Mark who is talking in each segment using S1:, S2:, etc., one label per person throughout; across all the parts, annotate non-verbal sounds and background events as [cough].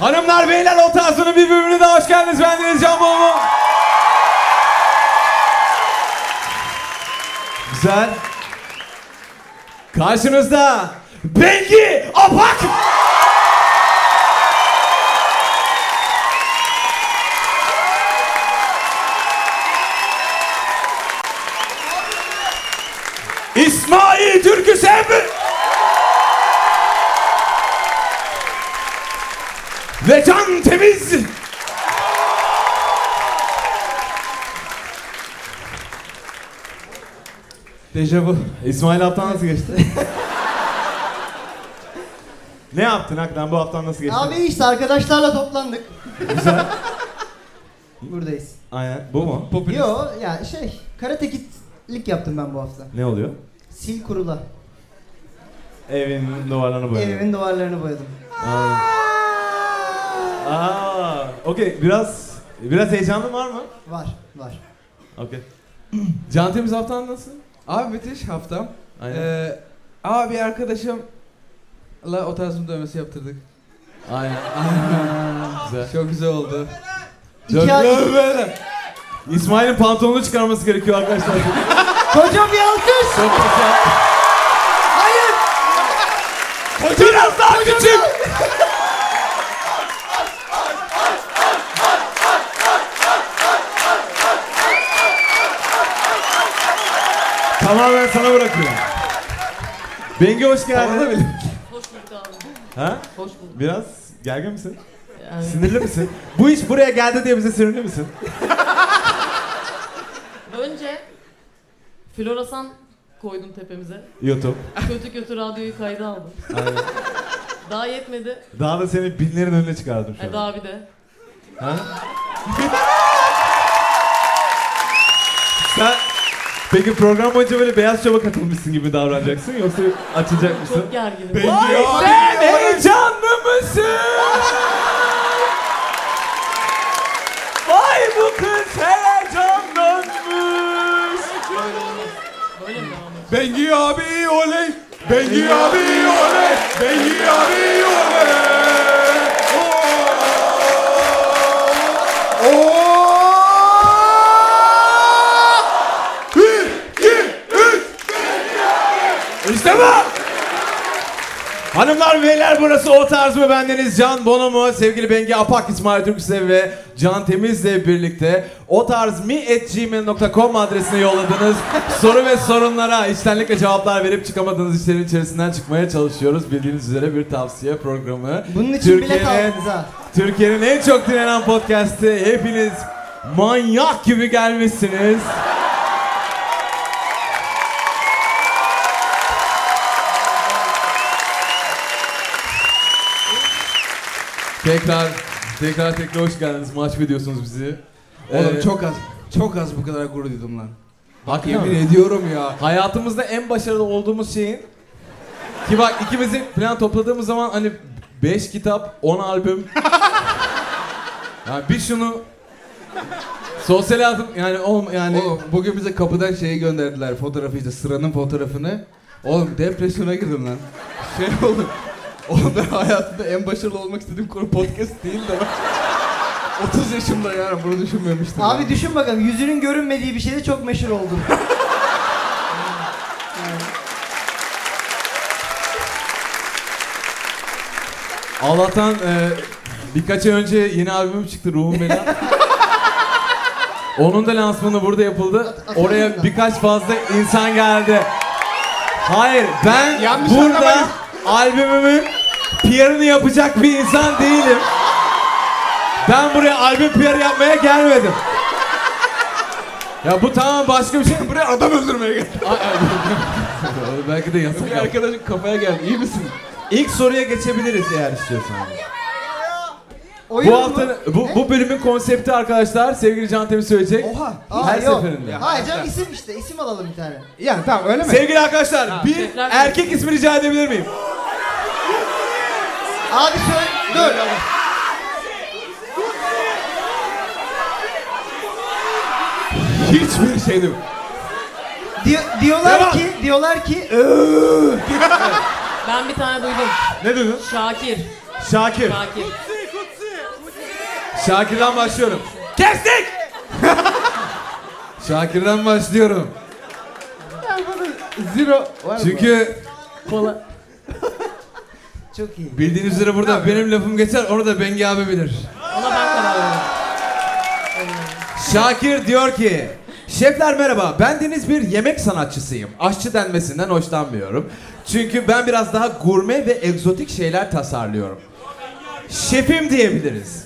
S1: Hanımlar beyler Otasun'un bir bölümüne daha hoş geldiniz. Ben Deniz Can Boğumu. Güzel. Karşınızda Bengi Apak. İsmail Türküsev ve Can Temiz. Dejavu. İsmail haftan nasıl geçti? ne yaptın hakikaten bu haftan nasıl geçti?
S2: Abi işte arkadaşlarla toplandık. Buradayız.
S1: Aynen. Bu mu?
S2: Yo ya şey karate kitlik yaptım ben bu hafta.
S1: Ne oluyor?
S2: Sil kurula.
S1: Evin duvarlarını boyadı.
S2: Evimin duvarlarını boyadım.
S1: Aa. Aa. Okey biraz biraz heyecanın var mı?
S2: Var var.
S1: Okey. Can Temiz haftan nasıl?
S3: Abi müthiş haftam.
S1: Aynen.
S3: Ee, abi arkadaşımla o tarzım dövmesi yaptırdık.
S1: Aynen. Güzel.
S3: Çok güzel oldu.
S2: İki ay...
S1: Dövmeler. İsmail'in pantolonunu çıkarması gerekiyor arkadaşlar.
S2: Koca bir alkış.
S1: Çok güzel.
S2: Hayır.
S1: Biraz daha küçük. Tamamen sana bırakıyorum. Bengi hoş geldin.
S4: Hoş bulduk abi.
S1: Ha?
S4: Hoş bulduk.
S1: Biraz gergin misin?
S4: Yani
S1: Sinirli misin? Bu iş buraya geldi diye bize sinirli misin?
S4: önce floresan koydum tepemize.
S1: YouTube.
S4: Kötü kötü radyoyu kayda aldım.
S1: Aynen.
S4: Daha yetmedi.
S1: Daha da seni binlerin önüne çıkardım şu
S4: E,
S1: an.
S4: daha bir de.
S1: Ha? Sen peki program boyunca böyle beyaz şova katılmışsın gibi davranacaksın yoksa açılacak mısın?
S4: Çok gerginim.
S1: Vay sen heyecanlı mısın? Vay bu kız heyecanlanmış.
S4: Böyle olmaz. Böyle mi devam edecek?
S1: Bengi abi oley. Bengi abi oley. Bengi abi oley. Oo! Oo! Bir, iki, üç. İşte bu. Hanımlar beyler burası o tarz mı bendeniz Can Bonomo sevgili Bengi Apak İsmail Türksev ve Can Temiz'le birlikte o tarz mi gmail.com adresine yolladığınız soru ve sorunlara içtenlikle cevaplar verip çıkamadığınız işlerin içerisinden çıkmaya çalışıyoruz. Bildiğiniz üzere bir tavsiye programı.
S2: Bunun için bilet
S1: Türkiye'nin-
S2: aldınız ha.
S1: Türkiye'nin en çok dinlenen podcast'i. Hepiniz manyak gibi gelmişsiniz. Tekrar tekrar tekrar hoş geldiniz. Maç ediyorsunuz bizi.
S3: Oğlum
S1: Ee,
S3: çok az. Çok az bu kadar gurur duydum lan.
S1: Bak
S3: Yemin ediyorum ya.
S1: Hayatımızda en başarılı olduğumuz şeyin ki bak ikimizin plan topladığımız zaman hani 5 kitap, 10 albüm. yani bir şunu sosyal hayatım yani olm yani
S3: Oğlum bugün bize kapıdan şeyi gönderdiler fotoğrafı işte sıranın fotoğrafını. Oğlum depresyona girdim lan. Şey oğlum. Oğlum ben hayatımda en başarılı olmak istediğim konu podcast değil de ben 30 yaşımda yani bunu düşünmemiştim.
S2: Abi
S3: ya.
S2: düşün bakalım yüzünün görünmediği bir şeyde çok meşhur oldun.
S1: Allah'tan e, birkaç ay önce yeni albümüm çıktı Ruhum [laughs] Bela. Onun da lansmanı burada yapıldı. Oraya birkaç fazla insan geldi. Hayır ben
S3: Yanlış
S1: burada
S3: anlamayın.
S1: albümümün PR'ını yapacak bir insan değilim. Ben buraya albüm PR yapmaya gelmedim. Ya bu tamam başka bir şey.
S3: Buraya adam öldürmeye geldim.
S1: Ay, ay, Belki de yasak.
S3: Bir arkadaşım kafaya geldi. İyi misin?
S1: İlk soruya geçebiliriz eğer istiyorsan.
S2: Oyun
S1: Bu
S2: mu?
S1: hafta bu, bu bölümün konsepti arkadaşlar sevgili Can Temiz söyleyecek.
S3: Oha.
S2: Aa,
S1: her
S2: yok.
S1: seferinde.
S2: Hayır canım isim işte isim alalım bir tane.
S3: Yani tamam öyle mi?
S1: Sevgili arkadaşlar bir
S4: tekrar-
S1: erkek ismi rica edebilir miyim?
S2: Abi söyle dur.
S3: Hiçbir şey değil.
S2: Diyo- diyorlar
S1: Devam.
S2: ki diyorlar ki
S4: Ben bir tane duydum.
S1: Ne dedin?
S4: Şakir.
S1: Şakir.
S4: Şakir.
S1: Şakir'den başlıyorum.
S3: Kestik!
S1: Şakir'den başlıyorum.
S3: Zero var mı?
S1: Çünkü
S4: Kola.
S2: Çok iyi.
S1: bildiğiniz üzere burada benim lafım geçer, onu da Bengi abi bilir.
S4: Ona ben karar veririm.
S1: Şakir diyor ki Şefler merhaba, ben Deniz bir yemek sanatçısıyım. Aşçı denmesinden hoşlanmıyorum. Çünkü ben biraz daha gurme ve egzotik şeyler tasarlıyorum. Şefim diyebiliriz.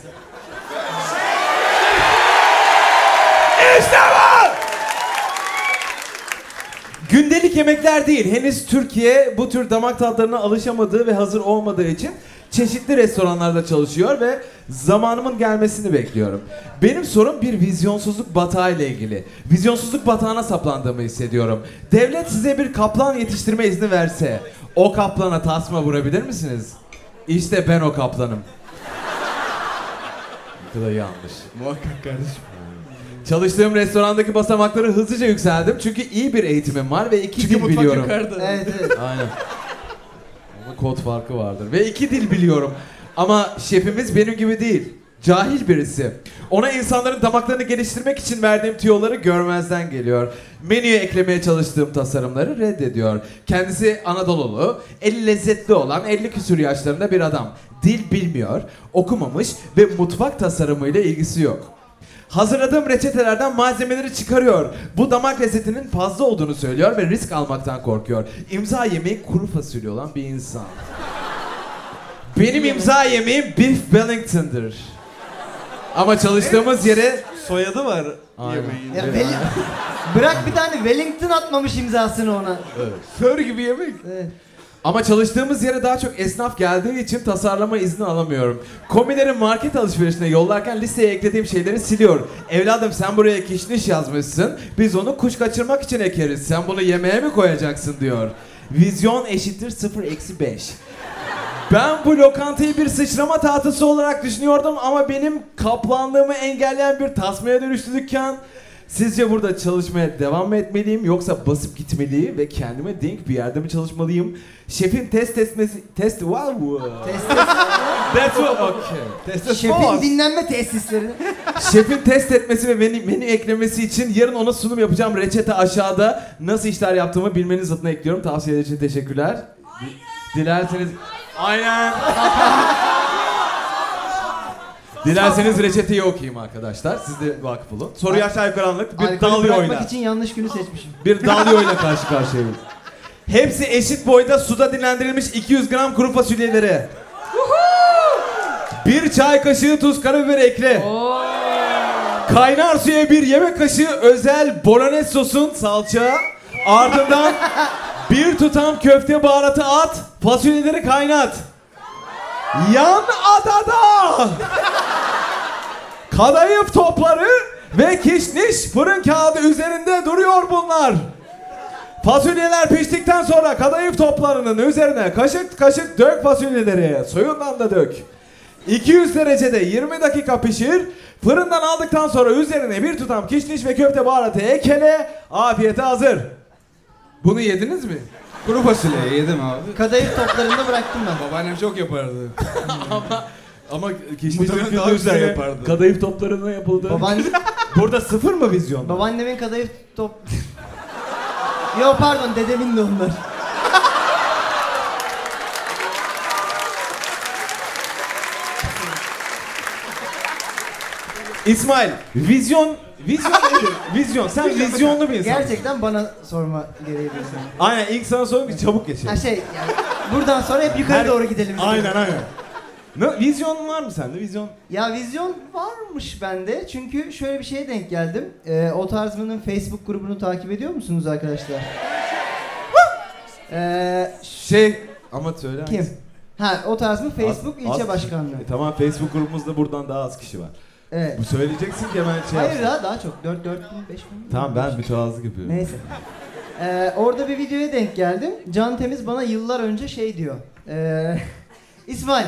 S1: İşte bu! Gündelik yemekler değil. Henüz Türkiye bu tür damak tatlarına alışamadığı ve hazır olmadığı için çeşitli restoranlarda çalışıyor ve zamanımın gelmesini bekliyorum. Benim sorum bir vizyonsuzluk batağı ile ilgili. Vizyonsuzluk batağına saplandığımı hissediyorum. Devlet size bir kaplan yetiştirme izni verse o kaplana tasma vurabilir misiniz? İşte ben o kaplanım. Bu da yanlış.
S3: Muhakkak kardeşim.
S1: Çalıştığım restorandaki basamakları hızlıca yükseldim çünkü iyi bir eğitimim var ve iki
S3: Çünkü
S1: dil
S3: mutfak
S1: biliyorum.
S3: yukarıda.
S2: Evet evet.
S1: Aynen. Ama kod farkı vardır. Ve iki dil biliyorum. Ama şefimiz benim gibi değil. Cahil birisi. Ona insanların damaklarını geliştirmek için verdiğim tüyoları görmezden geliyor. Menüye eklemeye çalıştığım tasarımları reddediyor. Kendisi Anadolulu, eli lezzetli olan 50 küsür yaşlarında bir adam. Dil bilmiyor, okumamış ve mutfak tasarımıyla ilgisi yok. Hazırladığım reçetelerden malzemeleri çıkarıyor. Bu damak lezzetinin fazla olduğunu söylüyor ve risk almaktan korkuyor. İmza yemeği kuru fasulye olan bir insan. Benim imza yemeğim Beef Wellington'dır. Ama çalıştığımız yere
S3: Soyadı var
S1: Aynen.
S3: yemeğin.
S2: Ya Weli- [laughs] Bırak bir tane Wellington atmamış imzasını ona.
S3: Sör gibi yemek.
S2: Evet.
S1: ama çalıştığımız yere daha çok esnaf geldiği için tasarlama izni alamıyorum. Komileri market alışverişine yollarken listeye eklediğim şeyleri siliyor. Evladım sen buraya kişniş yazmışsın. Biz onu kuş kaçırmak için ekeriz. Sen bunu yemeğe mi koyacaksın diyor. Vizyon eşittir 0 eksi 5. Ben bu lokantayı bir sıçrama tahtası olarak düşünüyordum ama benim kaplanlığımı engelleyen bir tasmaya dönüştü dükkan. Sizce burada çalışmaya devam mı etmeliyim yoksa basıp gitmeliyim ve kendime denk bir yerde mi çalışmalıyım? Şefin test etmesi... Test... Wow.
S2: Test,
S1: That's what... Okay. Test
S2: test, şefin dinlenme tesisleri.
S1: Şefin test etmesi ve menü, menü eklemesi için yarın ona sunum yapacağım. Reçete aşağıda. Nasıl işler yaptığımı bilmeniz adına ekliyorum. Tavsiyeler için teşekkürler. Dilerseniz... Aynen. Dilerseniz reçeteyi okuyayım arkadaşlar. Siz de vakıf olun. Soruyu aşağı yukarı anlık. Bir
S2: Alkolü
S1: dalıyor
S2: bırakmak
S1: oyna.
S2: için yanlış günü seçmişim.
S1: Bir dalıyor oyna karşı karşıyayım. Hepsi eşit boyda suda dinlendirilmiş 200 gram kuru fasulyeleri. Bir çay kaşığı tuz karabiber ekle.
S4: Oo.
S1: Kaynar suya bir yemek kaşığı özel bolognese sosun salça. Ardından bir tutam köfte baharatı at. Fasulyeleri kaynat. Yan adada. Kadayıf topları ve kişniş fırın kağıdı üzerinde duruyor bunlar. Fasulyeler piştikten sonra kadayıf toplarının üzerine kaşık kaşık dök fasulyeleri. Suyundan da dök. 200 derecede 20 dakika pişir. Fırından aldıktan sonra üzerine bir tutam kişniş ve köfte baharatı ekle. Afiyete hazır. Bunu yediniz mi?
S3: Kuru fasulye yedim abi.
S2: Kadayıf toplarında bıraktım ben.
S3: Babaannem çok yapardı. [laughs]
S1: Ama
S3: Muhtemelen daha güzel yapardı.
S1: Kadayıf toplarına yapıldı.
S2: Babaanne,
S1: Burada sıfır mı vizyon?
S2: babaannemin kadayıf top... Yo pardon dedemin de onlar.
S1: İsmail, vizyon, vizyon nedir? vizyon, sen vizyonlu bir insan.
S2: Gerçekten bana sorma gereği duyuyorum.
S1: Aynen ilk sana sorayım ki çabuk geçelim.
S2: Ha şey yani buradan sonra hep yukarı
S1: Her-
S2: doğru gidelim.
S1: aynen. Ne, vizyon var mı sende? Vizyon
S2: Ya vizyon varmış bende çünkü şöyle bir şeye denk geldim. Ee, o tarzımın Facebook grubunu takip ediyor musunuz arkadaşlar? Ee,
S1: şey ama söyle.
S2: kim?
S1: hangisi?
S2: Ha o tarzımın Facebook
S1: Az-
S2: ilçe
S1: az-
S2: başkanlığı.
S1: E, tamam Facebook grubumuzda buradan daha az kişi var.
S2: Evet.
S1: Bu söyleyeceksin ki hemen şey
S2: Hayır
S1: yapsın.
S2: daha daha çok. 4 4 bin 5 bin.
S1: Tamam ben mütevazı yapıyorum.
S2: Neyse.
S1: [laughs]
S2: Ee, orada bir videoya denk geldim. Can Temiz bana yıllar önce şey diyor. Ee, [laughs] İsmail.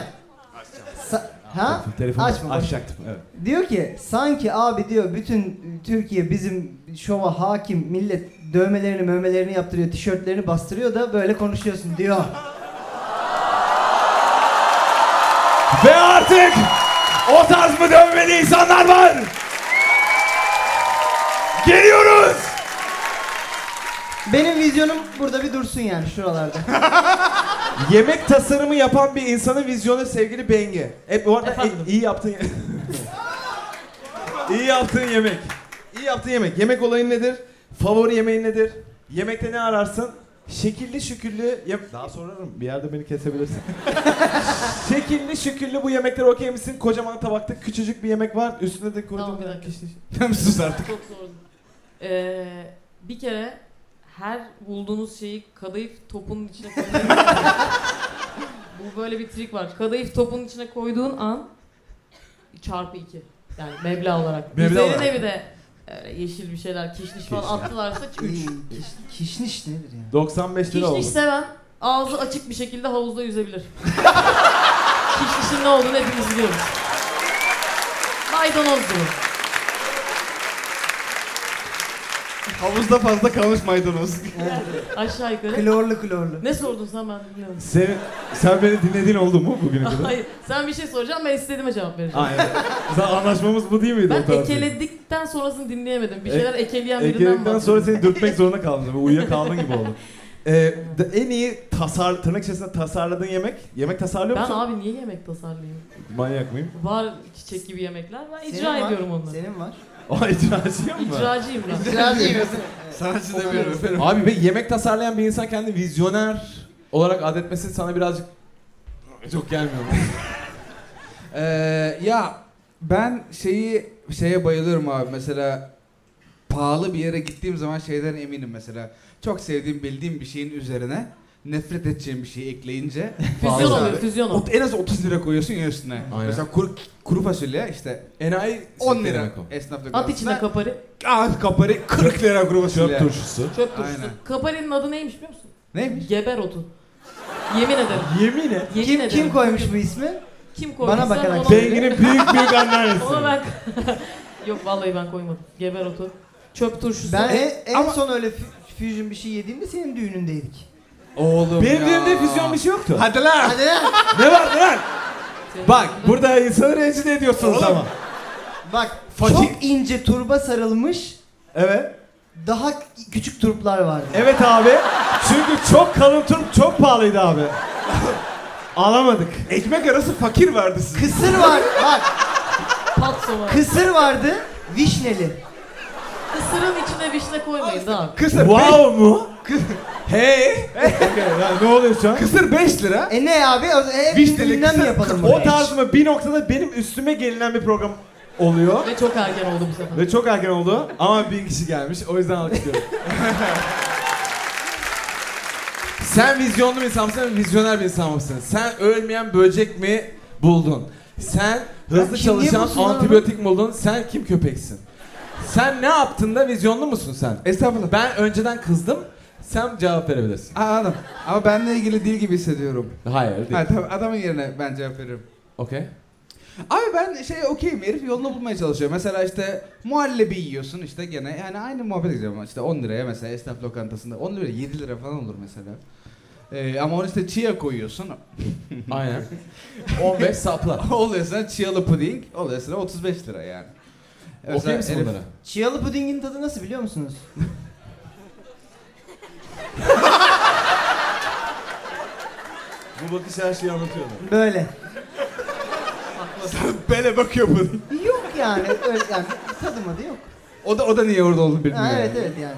S2: Sa- ha?
S1: Telefonu
S2: Açma.
S1: açacaktım. Evet.
S2: Diyor ki sanki abi diyor bütün Türkiye bizim şova hakim millet dövmelerini mövmelerini yaptırıyor tişörtlerini bastırıyor da böyle konuşuyorsun diyor.
S1: Ve artık O tarz mı dövmeli insanlar var? Geliyoruz.
S2: Benim vizyonum burada bir dursun yani şuralarda.
S1: Yemek tasarımı yapan bir insanın vizyonu sevgili Bengi. E bu arada
S4: Efendim?
S1: e- iyi yaptın. iyi yaptığın yemek. İyi yaptığın yemek. Yemek olayın nedir? Favori yemeğin nedir? Yemekte ne ararsın? Şekilli şüküllü yem- Daha sorarım. Bir yerde beni
S4: [laughs]
S1: kesebilirsin. Şekilli şüküllü bu yemekler okey misin? Kocaman tabakta küçücük bir yemek var. Üstüne de koyduğum
S4: Tamam, bir dakika.
S1: Tamam sus artık.
S4: Çok zor. Ee, bir kere her bulduğunuz şeyi kadayıf topunun içine koyduğun [laughs] Bu böyle bir trik var. Kadayıf topunun içine koyduğun an çarpı iki. Yani meblağ olarak.
S1: Meblağ
S4: Üzerine
S1: olarak.
S4: bir de öyle yeşil bir şeyler, kişniş falan attılarsa üç.
S2: Kiş- Kişniş nedir ya?
S1: 95 lira oldu.
S4: Kişniş seven ağzı açık bir şekilde havuzda yüzebilir. [laughs] Kişnişin ne olduğunu hepimiz biliyoruz. Maydanoz gibi.
S3: Havuzda fazla kalmış maydanoz.
S4: Aşağı yukarı.
S2: Klorlu klorlu.
S4: Ne sordun sen ben bilmiyorum.
S1: Sen, sen beni dinlediğin oldu mu bugüne
S4: [laughs]
S1: kadar?
S4: Hayır. Sen bir şey soracaksın ben istediğime cevap vereceğim.
S1: Aynen. Zaten anlaşmamız bu değil miydi o
S4: Ben
S1: tarz?
S4: ekeledikten sonrasını dinleyemedim. Bir
S1: E-
S4: şeyler ekeleyen birinden
S1: Ekledikten sonra
S4: bahsediyorum.
S1: seni dürtmek zorunda kaldım. Böyle Uyuyakaldın gibi
S4: [laughs]
S1: oldu. Ee, de- en iyi tasar, tırnak içerisinde tasarladığın yemek. Yemek tasarlıyor
S4: Ben
S1: musun?
S4: abi niye yemek tasarlayayım?
S1: Manyak mıyım? [laughs]
S4: Var çiçek gibi yemekler. Ben icra
S2: Senin var,
S4: ediyorum onları.
S2: Senin var.
S1: Aa icracıyım mı?
S4: İcracıyım ben.
S3: Sanatçı demiyorum efendim.
S1: Abi be, yemek tasarlayan bir insan kendi vizyoner olarak adetmesi sana birazcık çok gelmiyor. mu?
S3: [laughs] Ee, ya ben şeyi şeye bayılıyorum abi mesela pahalı bir yere gittiğim zaman şeyden eminim mesela. Çok sevdiğim bildiğim bir şeyin üzerine nefret edeceğim bir şeyi
S4: [laughs]
S3: ekleyince
S4: füzyon
S3: Abi.
S4: oluyor füzyon oluyor.
S3: ot- en az 30 lira koyuyorsun ya üstüne.
S1: Aynen.
S3: Mesela kuru, kuru fasulye işte
S1: Enayi
S3: 10
S1: şey
S3: lira
S1: demek o.
S3: esnaf
S4: At içine kapari.
S3: Ah kapari 40 lira kuru
S1: Çöp
S3: fasulye.
S1: turşusu.
S4: Çöp turşusu.
S3: Aynen.
S4: Kaparinin adı neymiş biliyor musun?
S3: Neymiş?
S4: Geber otu. Yemin ederim.
S1: Yemin et.
S4: Yemin
S2: Kim,
S4: ederim.
S2: kim koymuş bu ismi?
S4: Kim koyduysa
S2: Bana bakarak.
S4: ona-
S1: Benginin büyük büyük anneannesi.
S4: Ona ben... [laughs] Yok vallahi ben koymadım. Geber otu. Çöp turşusu.
S2: Ben en, en
S3: ama-
S2: son öyle fü- fusion bir şey yediğimde senin düğünündeydik.
S3: Oğlum
S1: Benim
S3: ya.
S1: düğümde füzyon bir şey yoktu.
S3: Hadi lan.
S2: Hadi lan.
S1: Ne var lan?
S4: Senin-
S1: Bak burada insanı rencide ediyorsunuz
S3: Oğlum.
S1: ama.
S2: Bak
S1: Fatih-
S2: çok ince turba sarılmış
S1: Evet.
S2: daha küçük turplar vardı.
S1: Evet abi. Çünkü çok kalın turp çok pahalıydı abi. Alamadık.
S3: Ekmek arası fakir vardı sizin.
S2: Kısır var. Bak
S4: Patso var.
S2: kısır vardı. Vişneli.
S4: Kısırın içine vişne koymayın daha.
S3: Kısır beş-
S1: Wow mu? hey. [laughs] ne oluyor şu an?
S3: Kısır 5 lira.
S2: E ne abi? O- E,
S3: Vişneli
S2: gündem
S3: kısır-
S2: yapalım
S1: O
S2: buraya.
S1: tarz mı bir noktada benim üstüme gelinen bir program oluyor.
S4: Ve çok erken oldu bu sefer.
S1: Ve çok erken oldu ama bin kişi gelmiş o yüzden alkışlıyorum. [laughs] Sen vizyonlu bir insan mısın, vizyoner bir insan mısın? Sen ölmeyen böcek mi buldun? Sen hızlı
S2: kim niye
S1: çalışan
S2: bulsun lan
S1: antibiyotik mi buldun? Sen kim köpeksin? Sen ne yaptın da vizyonlu musun sen?
S3: Estağfurullah.
S1: Ben önceden kızdım, sen cevap verebilirsin.
S3: şey- Aa, adam. Ama benimle ilgili değil gibi hissediyorum.
S1: Hayır değil.
S3: Ha, tamam, adamın yerine ben cevap veririm.
S1: Okey.
S3: Abi ben şey okeyim herif yolunu bulmaya çalışıyor. Mesela işte muhallebi yiyorsun işte gene yani aynı muhabbet ediyorum ama işte 10 liraya mesela esnaf lokantasında 10 lira 7 lira falan olur mesela. Ee, ama onu işte chia koyuyorsun. [laughs]
S1: Aynen. 15 sapla.
S3: oluyor sana chialı puding, oluyor sana 35 lira yani.
S1: Okey misin
S3: herif-
S1: bunlara?
S2: Çiyalı pudingin tadı nasıl biliyor musunuz?
S1: Bu bakış her şeyi anlatıyor.
S2: Böyle.
S3: Böyle bakıyor puding.
S2: Yok yani. Öyle, yani tadı madı yok.
S3: O da, o da niye orada olduğunu bilmiyor.
S2: Ha, evet
S3: yani.
S2: evet yani.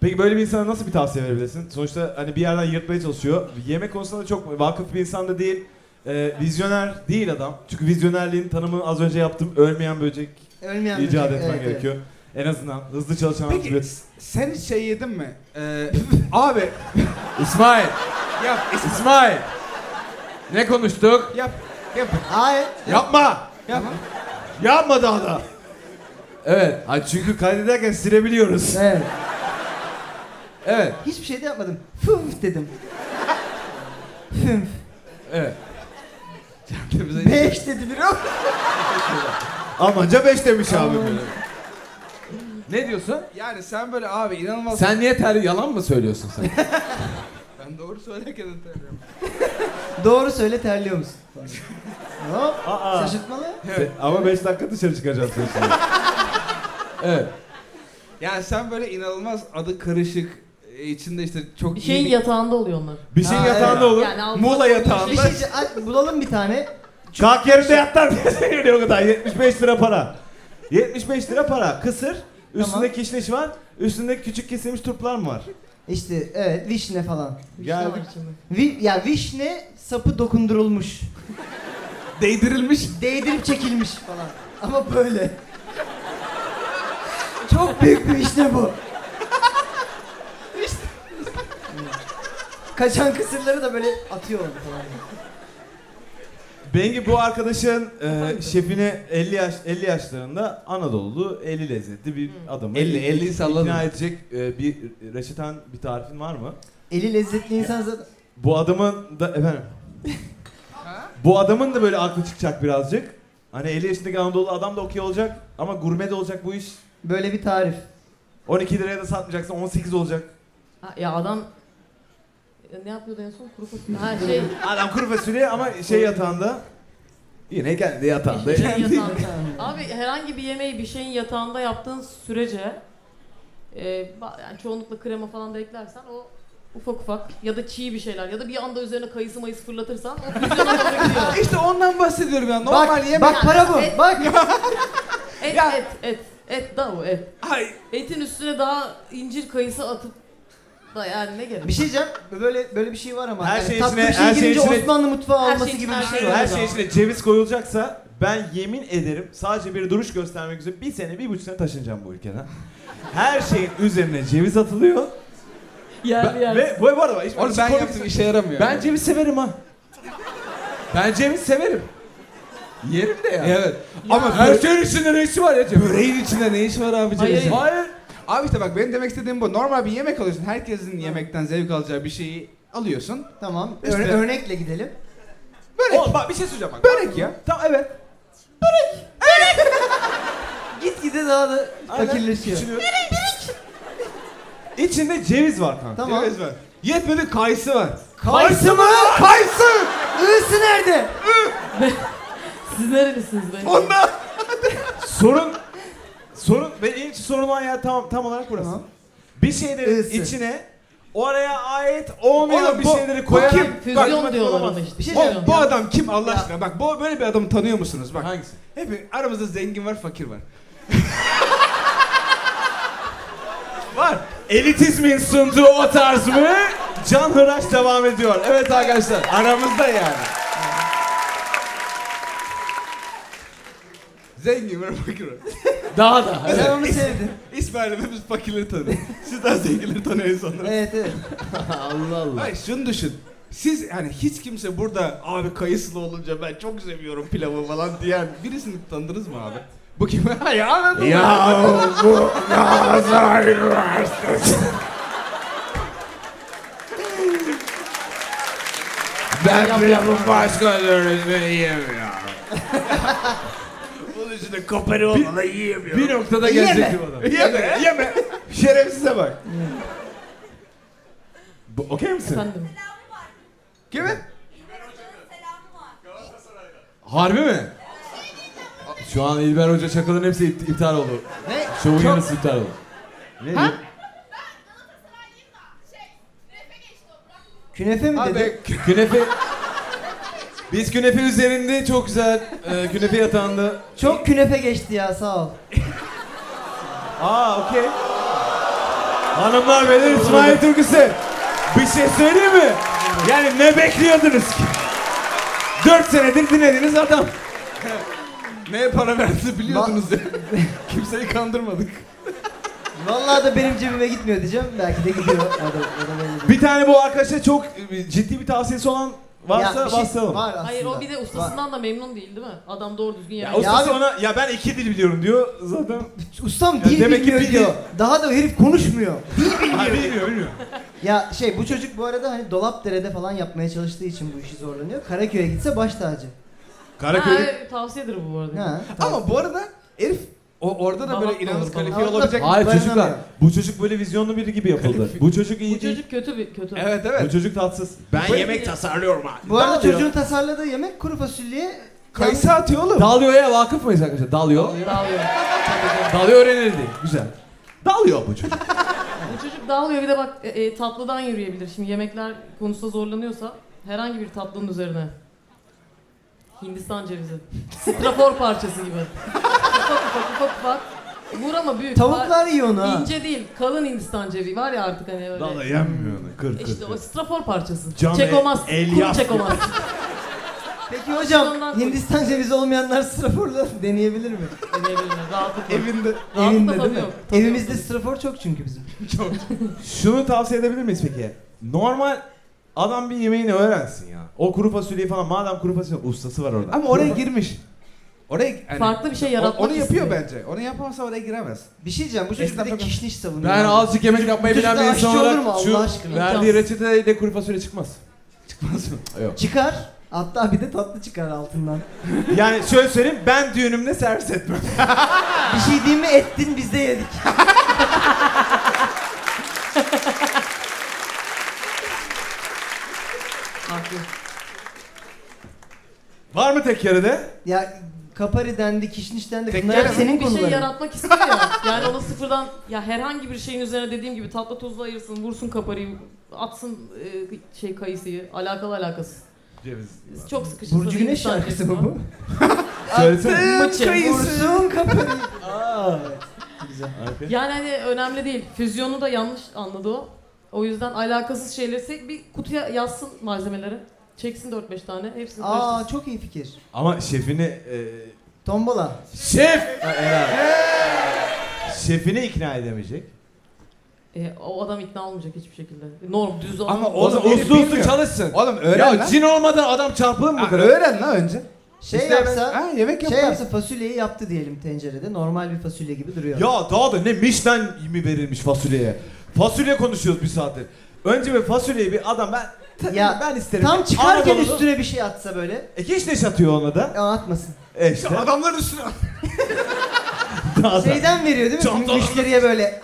S1: Peki böyle bir insana nasıl bir tavsiye verebilirsin? Sonuçta hani bir yerden yırtmaya çalışıyor. Yemek konusunda da çok vakıf bir insan da değil. Ee, vizyoner değil adam. Çünkü vizyonerliğin tanımını az önce yaptım. Ölmeyen böcek
S2: Ölmeyen
S1: icat
S2: böcek,
S1: etmen
S2: evet, evet.
S1: gerekiyor. En azından hızlı çalışan
S3: Peki,
S1: antibiyotik.
S3: Sen hiç şey yedin mi? Ee, [laughs] abi
S1: [laughs] İsmail!
S3: yap
S1: İsmail! Ne konuştuk?
S3: yap yap. [laughs]
S2: Hayır.
S1: Yapma!
S3: yap.
S1: Yapma daha da! Evet. Ha çünkü kaydederken silebiliyoruz.
S2: Evet.
S1: Evet.
S2: Hiçbir şey de yapmadım. Fünf dedim. Fünf.
S1: Evet.
S2: Beş dedi biri.
S1: Amanca 5 demiş abi böyle. Ne diyorsun?
S3: Yani sen böyle abi inanılmaz.
S1: Sen niye ter yalan mı söylüyorsun sen?
S3: Ben doğru söylerken hatırlıyorum.
S2: Doğru söyle terliyor musun? Hop.
S1: Aa.
S2: Şaşırtmalı.
S3: Evet.
S1: Ama 5 dakika dışarı çıkacağız diyorsun.
S3: evet. Yani sen böyle inanılmaz adı karışık e, içinde işte çok
S4: Bir
S3: iyi
S4: şeyin
S3: bir-
S4: Şey yatağında oluyor onlar.
S1: Bir şeyin
S3: Ha,
S1: yatağında
S3: evet.
S1: olur.
S4: Yani altı-
S3: Muğla yatağında.
S2: Bir şey aç, bulalım bir tane.
S1: Kalk yerinde yat lan diye [laughs] geliyor o kadar. 75 lira para. 75 lira para. Kısır. Üstünde kişniş var. Üstünde küçük kesilmiş turplar mı var?
S2: İşte evet vişne falan.
S4: Bir şey
S1: Geldik.
S4: var içinde.
S2: Vi, ya vişne sapı dokundurulmuş.
S3: değdirilmiş.
S2: Değdirip çekilmiş falan. Ama böyle. Çok büyük bir vişne bu. Kaçan kısırları da böyle atıyor orada falan.
S1: Bengi bu arkadaşın e, şefini 50 yaş 50 yaşlarında Anadolu'lu 50 lezzetli bir adamı.
S3: 50, 50'yi salladım.
S1: İkna edecek e, bir reçeten bir tarifin var mı?
S2: Eli lezzetli insan zaten.
S1: Bu adamın da efendim. bu adamın da böyle aklı çıkacak birazcık. Hani 50 yaşındaki Anadolu adam da okey olacak ama gurme de olacak bu iş.
S2: Böyle bir tarif.
S1: 12 liraya da satmayacaksın 18 olacak.
S4: Ha, ya adam E, ne yapıyordu en son? Kuru fasulye. Ha şey.
S1: Adam kuru fasulye ama şey yatağında. Yine kendi yatağında.
S4: bir şeyin yatağında. Abi herhangi bir yemeği bir şeyin yatağında yaptığın sürece e, ba- yani çoğunlukla krema falan da eklersen o ufak ufak ya da çiğ bir şeyler ya da bir anda üzerine kayısı mayısı
S1: [laughs]
S4: fırlatırsan o füzyona doğru gidiyor.
S3: İşte ondan bahsediyorum ya. Normal
S2: bak,
S3: yemek.
S2: bak para bu. Bak.
S4: Et,
S3: Ya-
S4: et, et. Et da o et.
S3: Ay.
S4: Etin üstüne daha incir kayısı atıp da yani ne gerek?
S2: [laughs] Bir şey diyeceğim. Böyle böyle bir şey var ama.
S1: Her
S2: yani
S1: şey
S2: tatlı
S1: içine-
S2: bir şey
S1: her şey
S2: girince
S1: içine-
S2: Osmanlı mutfağı
S4: Her şey
S2: alması gibi
S4: içine-
S2: bir şey var.
S1: Her şey içine ceviz koyulacaksa ben yemin ederim sadece bir duruş göstermek üzere bir sene bir buçuk sene taşınacağım bu ülkeden. Her şeyin üzerine ceviz atılıyor.
S4: Yerli
S1: Ben-
S4: yerli.
S1: ve bu, bu arada hiç
S3: Onu
S1: hiç
S3: ben
S1: komik-
S3: yaptım işe yaramıyor.
S1: Ben ceviz severim ha. Ben ceviz severim. Yerim de ya.
S3: Evet.
S1: Ama her şeyin içinde ne işi var ya ceviz? Böreğin içinde ne işi var abi
S4: Hayır, cevizin?
S1: Hayır.
S3: Abi işte bak benim demek istediğim bu. Normal bir yemek alıyorsun. Herkesin yemekten zevk alacağı bir şeyi alıyorsun.
S2: Tamam.
S3: İşte.
S2: örne- örnekle gidelim.
S3: Börek.
S1: Oğlum bak bir şey söyleyeceğim bak.
S3: Börek ya.
S1: Tamam evet.
S2: Gitgide daha da
S1: Aynen.
S2: fakirleşiyor.
S1: Küçülüyor. İçinde ceviz var kanka.
S2: Tamam.
S3: Ceviz var. Yetmedi kayısı var.
S2: Kayısı mı?
S3: Kayısı!
S2: Iğsı nerede?
S4: Siz nerelisiniz be?
S3: Ondan.
S1: Sorun sorun ve en ilk sorun olan yer tam tam olarak burası.
S2: Tamam.
S1: Bir şeylerin
S2: Isı.
S1: içine oraya ait olmayan
S3: Oğlum
S1: bir
S3: bu-
S1: şeyleri
S3: bu
S1: koyarak
S3: kim?
S4: Füzyon
S1: Bak,
S4: diyorlar
S1: olamaz.
S4: ona işte.
S2: Bir şey
S4: Füzyon.
S3: Bu adam kim Allah
S2: Ya.
S3: aşkına? Bak bu böyle bir adamı tanıyor musunuz? Bak.
S1: Hangisi?
S3: Hep aramızda zengin var, fakir var. var.
S1: Elitizmin sunduğu o tarz mı? Can Hıraş devam ediyor. Evet arkadaşlar aramızda yani.
S3: Zengin var, [laughs] fakir var.
S1: Daha da. [laughs]
S2: Ben onu sevdim.
S3: İsmail'le biz fakirleri tanıyoruz. Siz daha zenginleri tanıyor
S2: [laughs]
S3: insanlar.
S2: Evet evet.
S1: Allah Allah.
S3: Hayır şunu düşün. Siz hani hiç kimse burada abi kayısılı olunca ben çok seviyorum pilavı falan diyen birisini tanıdınız mı abi? Bu kim? [laughs] ya anladım.
S1: Ya bu Ben pilavın başka türlüsünü yiyemiyorum.
S3: [laughs] Bunun içinde koperi olmadan yiyemiyorum.
S1: Bir noktada
S2: Yeme.
S1: gelecek bu adam.
S3: Yeme, yeme. Şerefsize bak.
S1: Bu- Okey misin?
S4: Efendim.
S3: Kimi?
S1: Harbi mi? Şu an İlber Hoca şakaların hepsi ipt- iptal oldu.
S2: Ne?
S1: Şovun
S2: Çok-
S1: yarısı iptal oldu.
S2: Ha? Künefe mi dedi?
S3: Abi
S1: Künefe... Biz künefe üzerinde çok güzel e, künefe yatağında.
S2: Çok künefe geçti ya sağ ol.
S1: Aa okey. Hanımlar beyler İsmail Türküsü. Bir şey söyleyeyim mi? Yani ne bekliyordunuz ki? Dört senedir dinlediğiniz adam.
S3: neye para verdiğini biliyordunuz ya. [laughs] Kimseyi kandırmadık.
S2: Vallahi da benim cebime gitmiyor diyeceğim. Belki de gidiyor. [laughs] O da, o da belli değil.
S1: Bir tane bu arkadaşa çok e, ciddi bir tavsiyesi olan varsa
S2: Ya bir şey
S1: bastıralım.
S2: Var aslında.
S4: Hayır o bir de
S2: Var.
S4: ustasından da memnun değil değil mi? Adam doğru düzgün
S1: Ya
S4: yemek.
S1: ustası
S2: abi-
S1: ona ya ben iki dil biliyorum diyor zaten.
S2: Ustam
S1: Ya
S2: dil
S1: demek ki
S2: bilmiyor
S1: bildi-
S2: diyor. Daha da o herif konuşmuyor.
S1: Hayır bilmiyor bilmiyor.
S2: ya şey bu çocuk bu arada hani Dolapdere'de falan yapmaya çalıştığı için bu işi zorlanıyor. Karaköy'e gitse baş tacı.
S4: Ha,
S1: Karaköy'de
S4: evet, tavsiyedir bu bu arada.
S2: Ha, tamam.
S3: Ama bu arada Elif o, orada da
S4: Babak
S3: böyle
S4: da
S3: inanılmaz
S4: olur, babak.
S3: kalifiye olabilecek.
S2: Aa.
S1: Hayır
S2: Dayanamıyor.
S1: çocuklar. Bu çocuk böyle vizyonlu biri gibi yapıldı. Bu çocuk iyi
S4: Bu
S1: değil.
S4: çocuk kötü bir kötü.
S3: Evet
S1: Bu
S3: evet.
S1: çocuk tatsız.
S3: Ben
S4: yemek
S3: tasarlıyorum abi.
S2: Bu arada
S1: yapıyor?
S2: çocuğun tasarladığı yemek kuru fasulye
S3: Kayısı atıyor oğlum.
S1: Dalyo'ya vakıf mıyız arkadaşlar? Dalyo.
S4: Dağılıyor. Tabii ki.
S1: Dalyo öğrenildi. Güzel. Dalıyor bu çocuk.
S4: Bu çocuk dağılıyor bir de bak e, e, tatlıdan yürüyebilir. Şimdi yemekler konusunda zorlanıyorsa herhangi bir tatlının üzerine. Hindistan cevizi. Strafor parçası gibi. ufak ufak ufak ufak. Vur ama büyük.
S2: Tavuklar yiyor onu ha.
S4: İnce değil, kalın Hindistan cevizi var ya artık hani öyle.
S1: Dalıyor yenmiyor onu. Kır kır.
S4: İşte o strafor parçası.
S1: Can
S4: çekomaz.
S1: el- el
S4: kum
S1: yas-
S4: çekomaz.
S2: Peki hocam
S4: Ondan-
S2: Hindistan cevizi olmayanlar straforla [laughs] deneyebilir mi?
S4: Deneyebilirler, Rahatlıkla.
S3: Evinde.
S4: Rahatlıkla
S2: Evinde değil
S4: tadı
S2: mi?
S4: yok. Tadı yok,
S2: Evimizde
S4: tadı yok.
S2: strafor çok çünkü bizim.
S1: Şunu tavsiye edebilir miyiz peki? Normal adam bir yemeğini öğrensin ya. O kuru fasulyeyi falan madem kuru fasulye ustası var orada.
S3: Ama oraya girmiş. Oraya hani,
S4: Farklı bir şey yaratmak
S3: Onu yapıyor
S4: istiyor.
S3: bence. Onu yapamazsa oraya giremez.
S2: Bir şey diyeceğim bu çocuk bir de
S3: Estağfurullah.
S2: kişniş savunuyor.
S1: Ben azıcık yemek yapmayı
S2: Çocuk
S1: bilen
S2: da
S1: bir
S2: aşçı
S1: insan
S2: olur mu
S1: olarak
S2: Allah
S1: şu
S2: aşkına?
S1: verdiği reçeteyle kuru fasulye çıkmaz.
S3: Çıkmaz mı?
S1: Yok.
S2: Çıkar. Hatta bir de tatlı çıkar altından.
S1: [laughs] Yani şöyle söyleyeyim ben düğünümde servis etmem.
S2: Bir şey diyeyim mi ettin biz de yedik.
S4: Haklı.
S1: Var mı tek yarıda?
S2: Ya kapari dendi, kişniş dendi.
S3: Tek
S2: Bunlar
S3: kere
S2: hep
S3: mi?
S2: senin
S4: bir şey
S2: konuların.
S4: yaratmak istiyor ya. Yani onu sıfırdan ya herhangi bir şeyin üzerine dediğim gibi tatlı tuzlu ayırsın, vursun kaparıyı, atsın e, şey kayısıyı. Alakalı alakası.
S1: Ceviz.
S4: Çok sıkışık.
S2: Burcu Güneş şarkısı mı bu?
S1: Söylesene.
S4: Mıçı.
S2: Vursun kapari.
S1: Harika.
S4: Yani hani önemli değil. Füzyonu da yanlış anladı o. O yüzden alakasız şeyleri se- bir kutuya yazsın malzemeleri. Çeksin 4-5 tane. Hepsini karıştırsın.
S2: Aa çok iyi fikir.
S1: Ama şefini... e,
S2: Tombola.
S1: şef! Ha, helal. Şefini ikna edemeyecek.
S4: E, o adam ikna olmayacak hiçbir şekilde. Norm düz adam.
S3: Ama
S1: O
S3: oğlum
S1: zaman
S3: herif
S1: uslu uslu
S3: bilmiyor.
S1: çalışsın.
S3: Oğlum öğren
S1: ya
S3: lan.
S1: cin olmadan adam çarpılır mı bu
S3: Ha,
S1: kadar?
S3: öğren lan önce.
S2: Şey
S3: İşte ben-
S2: yapsa,
S3: Ha, yemek yap.
S2: şey
S3: lan.
S2: yapsa fasulyeyi yaptı diyelim tencerede. Normal bir fasulye gibi duruyor.
S1: Ya daha da ne Michelin mi verilmiş fasulyeye? Fasulye konuşuyoruz bir saattir. Önce bir fasulyeyi bir adam ben
S2: Ya,
S1: ben isterim.
S2: Tam çıkarken
S1: Anadolu'da-
S2: üstüne bir şey atsa böyle.
S1: E geç neş atıyor ona da.
S2: Aa, atmasın.
S1: E işte.
S3: adamların üstüne.
S1: [laughs] Daha da.
S2: Şeyden veriyor değil mi?
S1: Çantalarını-
S2: Müşteriye böyle.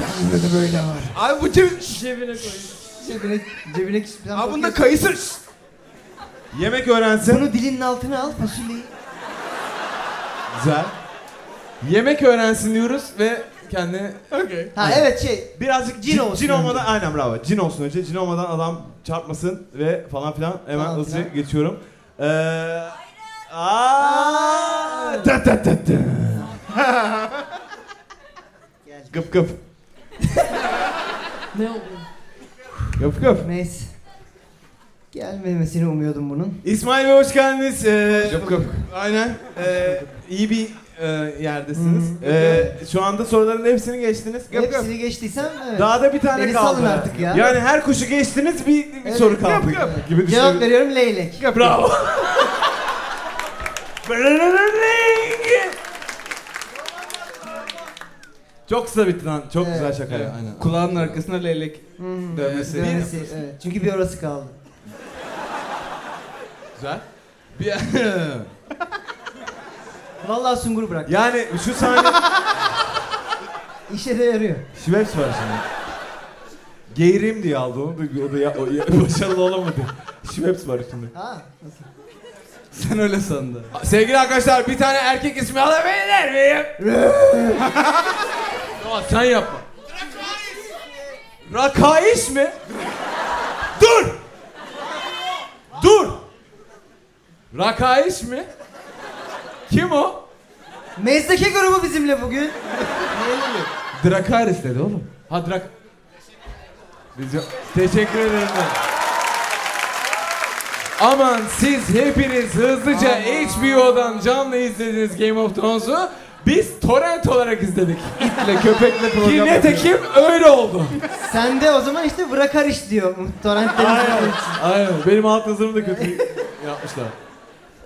S3: Bende de böyle var. Abi bu ceviz.
S4: Cebine koyuyor.
S2: Cebine, cebine kişi falan
S3: Abi bunda
S2: bakıyorsun.
S3: kayısı.
S1: Yemek öğrensin.
S2: Bunu dilinin altına al fasulyeyi.
S1: Güzel. Yemek öğrensin diyoruz ve kendi
S3: Okey.
S2: Ha evet şey.
S1: birazcık
S2: Cin
S1: cin,
S2: olsun
S1: cin olmadan
S2: önce.
S1: aynen bravo. Cin olsun önce. Cin olmadan adam çarpmasın ve falan filan. Hemen
S2: Falan
S1: hızlıca
S2: filan.
S1: geçiyorum. Ee, aa, ta ta ta ta.
S2: Gel.
S1: Gıp gıp.
S4: Ne oldu?
S1: Gıp gıp.
S2: Neyse. Gelmemesini umuyordum bunun.
S1: İsmail Bey hoş geldiniz. Ee,
S3: Gıp gıp.
S1: Aynen. Ee, iyi bir e, yerdesiniz. Ee, şu anda soruların hepsini geçtiniz. Gıp gıp.
S2: Hepsini geçtiysem evet.
S1: Daha da bir tane
S2: Beni
S1: kaldı.
S2: salın artık ya.
S1: Yani her kuşu geçtiniz bir, bir
S2: Evet.
S1: soru kaldı.
S3: Gıp gıp.
S1: Gibi şey.
S2: Cevap
S1: düşünüyorum.
S2: veriyorum leylek.
S1: Bravo. Çok kısa bitti lan. Çok
S2: Evet.
S1: güzel şaka. ya.
S3: aynen. Kulağının arkasına leylek. [laughs]
S2: Hmm,
S3: Dövmesi.
S2: dövmesi, evet. Çünkü bir orası kaldı.
S1: Güzel.
S3: Bir...
S2: Vallahi sungur bırak.
S1: Yani şu sahne
S2: İşe de yarıyor.
S1: Şiveps var şimdi. Geğireyim diye aldı onu da, o da ya, o ya- [laughs] başarılı olamadı. Şiveps var şimdi.
S2: Ha nasıl?
S3: Sen öyle sandın.
S1: Sevgili arkadaşlar bir tane erkek ismi alabilir miyim? Doğan sen yapma. Rakaiş mi? Dur! Dur! Rakaiş mi? Kim o?
S2: Mezdeke grubu bizimle bugün.
S1: Drakaris dedi oğlum. Ha Drak... Biz yok- Teşekkür ederim ben. Aman siz hepiniz hızlıca HBO'dan canlı izlediğiniz Game of Thrones'u biz torrent olarak izledik.
S3: İtle köpekle program
S1: Kim ne
S3: yapıyor.
S1: tekim öyle oldu.
S2: Sen de o zaman işte bırakar iş diyor. Torrentlerin
S1: Aynen. Aynen. Benim alt yazımı da
S3: [laughs]
S1: kötü yapmışlar.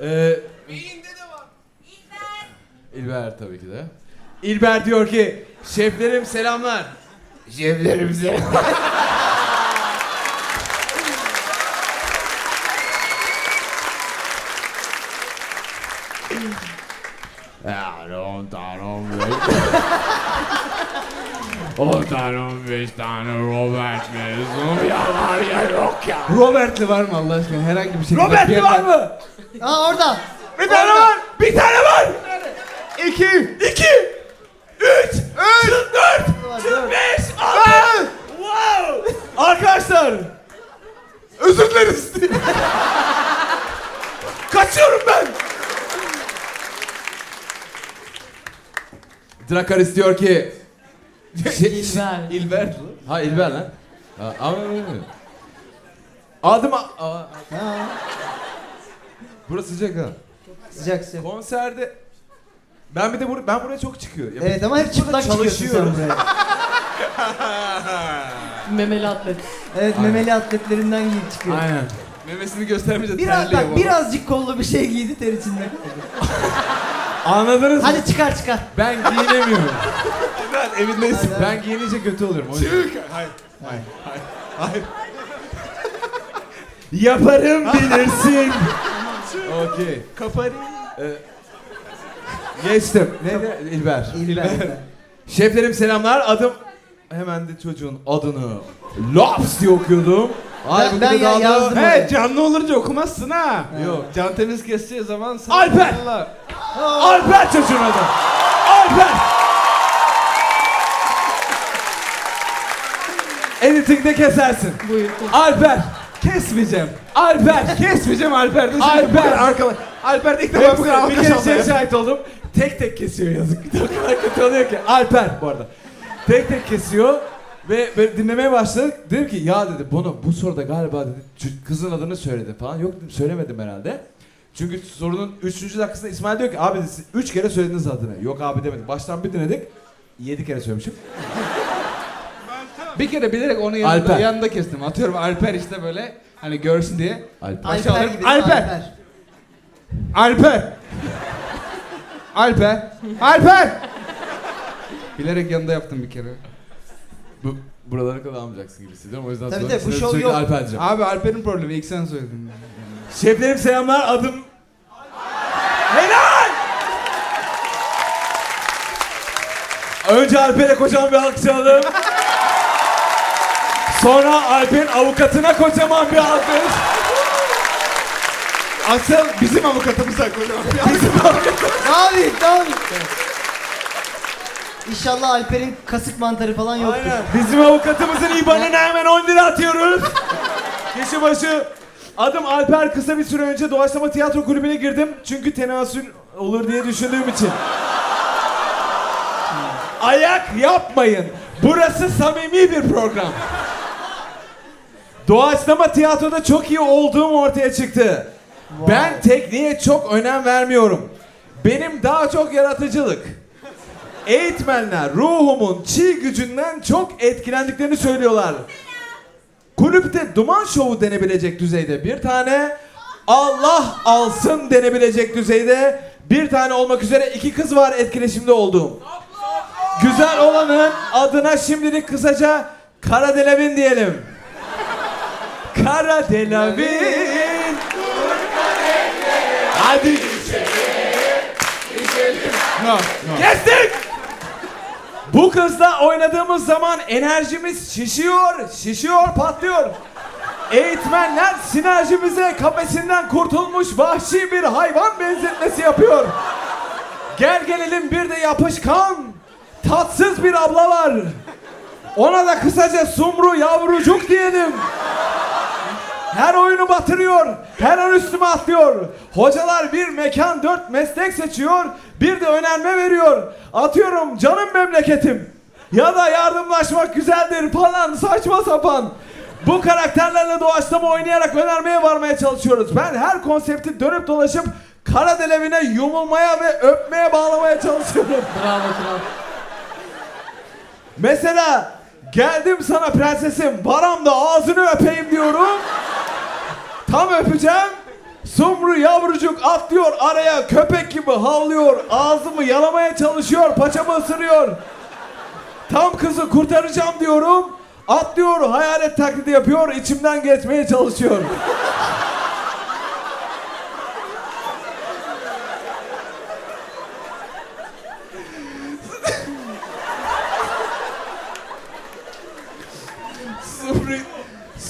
S1: Ee, İlber tabii ki de. İlber diyor ki şeflerim selamlar. Şeflerim selamlar. Ya, tamam, tamam.
S5: Ondan 15 tane Robert mezun ya var ya yok ya.
S3: Robert'li var mı Allah aşkına herhangi bir şekilde?
S5: Robert'li
S3: Pierre-
S5: var mı?
S2: Aa orada.
S5: Bir tane var. Bir tane var. İki. İki. Üç. Üç. Dört.
S2: dört.
S5: Beş. Altı. Wow. Arkadaşlar. Özür dileriz. Kaçıyorum ben.
S3: Dracarys diyor ki...
S4: İlber.
S3: İlber. Ha İlber lan. Ha, ama Adım... a- a-
S2: Ha,
S3: Burası sıcak ha.
S2: sıcak sıcak.
S3: Konserde... Ben bir de bur ben buraya çok çıkıyor. Ya
S2: Evet ama hep çıplak çıkıyorsun sen
S3: çalışıyoruz.
S2: buraya.
S4: Memeli atlet.
S2: Evet memeli atletlerinden giyip çıkıyor.
S3: Aynen. Memesini göstermeyince
S2: Biraz
S3: terliyor
S2: bak
S3: baba.
S2: birazcık kollu bir şey giydi ter içinde kaldı.
S1: Anladınız mı?
S2: Hadi çıkar çıkar.
S1: Ben giyinemiyorum.
S3: Ben evindeyiz.
S1: ben giyinince kötü oluyorum. O yüzden.
S3: Yaparım bilirsin.
S1: Okey.
S3: Kaparım.
S1: Geçtim. Neydi? İlber.
S2: İlber. İlber.
S1: Şeflerim selamlar. Adım hemen de çocuğun adını Laps diye okuyordum.
S2: Ben, ben ya, yazdım.
S3: He
S2: oraya.
S3: canlı olunca okumazsın ha.
S1: Yok.
S3: Can temiz kestiği zaman sana
S1: Alper!
S3: Allah.
S1: Alper çocuğun adı. Alper. Editing'de kesersin.
S4: Buyur.
S1: Alper.
S3: Kesmeyeceğim.
S1: Alper.
S3: Kesmeyeceğim Alper'de.
S1: Alper.
S3: arkadaş. Alper de ilk defa bu kadar
S1: Hepsini bir
S3: alkış
S1: kere
S3: aldı.
S1: şeye
S3: ya.
S1: şahit oldum. Tek tek kesiyor yazık. [laughs] O kadar kötü oluyor ki. Alper bu arada. Tek tek kesiyor. Ve böyle dinlemeye başladık. Dedim ki ya dedi bunu bu soruda galiba dedi "çü- kızın adını söyledi falan. Yok dedim söylemedim herhalde. Çünkü sorunun 3. dakikasında İsmail diyor ki abi dedi, siz 3 kere söylediniz adını. Yok abi demedik. Baştan bir dinledik. 7 kere söylemişim.
S3: Bir kere bilerek onu yanında,
S1: Alper.
S3: yanında kestim. Atıyorum Alper işte böyle hani görsün diye.
S1: Alper.
S3: Aşağı
S2: Alper
S3: alırım.
S2: gibi.
S3: Alper.
S2: Alper.
S3: Alper. Alper. Alper. bilerek yanında yaptım bir kere.
S1: Bu, buralara kadar almayacaksın gibi hissediyorum. O yüzden
S2: Tabii
S1: sonra
S2: tabii, bu
S1: size
S2: şov
S1: sürekli
S2: yok.
S1: Alper diyeceğim.
S3: Abi Alper'in problemi ilk sen söyledin.
S1: Şeflerim selamlar adım... Helal! Önce Alper'e kocaman bir alkış alalım. Sonra Alper'in avukatına kocaman bir alkış.
S3: Asıl bizim avukatımız hakkında.
S2: Abi tamam. İnşallah Alper'in kasık mantarı falan yoktur.
S1: Aynen. Bizim avukatımızın IBAN'ına hemen 10 lira atıyoruz. [laughs] Kişi başı. Adım Alper kısa bir süre önce Doğaçlama Tiyatro Kulübü'ne girdim. Çünkü tenasül olur diye düşündüğüm için. Ayak yapmayın. Burası samimi bir program. Doğaçlama tiyatroda çok iyi olduğum ortaya çıktı. Ben tekniğe çok önem vermiyorum. Benim daha çok yaratıcılık. Eğitmenler ruhumun çiğ gücünden çok etkilendiklerini söylüyorlar. Kulüpte duman şovu denebilecek düzeyde bir tane, Allah alsın denebilecek düzeyde bir tane olmak üzere iki kız var etkileşimde olduğum. Güzel olanın adına şimdilik kısaca Kara Delavin diyelim. Kara Delavin. Hadi. Kestik. Bu kızla oynadığımız zaman enerjimiz şişiyor, şişiyor, patlıyor. Eğitmenler sinerjimize kafesinden kurtulmuş vahşi bir hayvan benzetmesi yapıyor. Gel gelelim bir de yapışkan, tatsız bir abla var. Ona da kısaca sumru yavrucuk diyelim. Her oyunu batırıyor. Her an üstüme atlıyor. Hocalar bir mekan dört meslek seçiyor. Bir de önerme veriyor. Atıyorum canım memleketim. Ya da yardımlaşmak güzeldir falan saçma sapan. Bu karakterlerle doğaçlama oynayarak önermeye varmaya çalışıyoruz. Ben her konsepti dönüp dolaşıp kara delevine yumulmaya ve öpmeye bağlamaya çalışıyorum.
S4: Bravo kral.
S1: Mesela geldim sana prensesim varam da ağzını öpeyim diyorum. Tam öpeceğim. Sumru yavrucuk atlıyor araya köpek gibi havlıyor. Ağzımı yalamaya çalışıyor paçamı ısırıyor. Tam kızı kurtaracağım diyorum. Atlıyor hayalet taklidi yapıyor içimden geçmeye çalışıyor.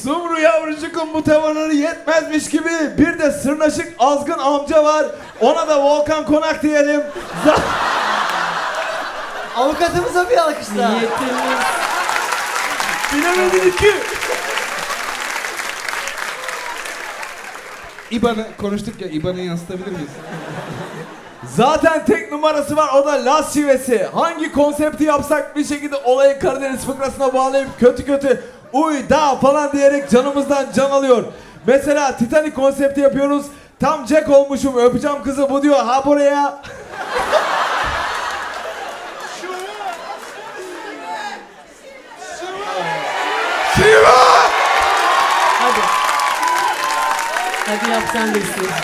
S1: Sumru yavrucuğun bu tavanları yetmezmiş gibi bir de sırnaşık azgın amca var. Ona da Volkan Konak diyelim.
S2: Avukatımıza bir alkışla.
S4: Niyetimiz.
S5: Bilemedin iki.
S3: İban'ı konuştuk ya İban'ı yansıtabilir miyiz?
S1: Zaten tek numarası var o da Las Şivesi. Hangi konsepti yapsak bir şekilde olayı Karadeniz fıkrasına bağlayıp kötü kötü uy da falan diyerek canımızdan can alıyor. Mesela Titanic konsepti yapıyoruz. Tam Jack olmuşum öpeceğim kızı bu diyor ha buraya.
S4: Hadi. Hadi yap sen de istiyorsun.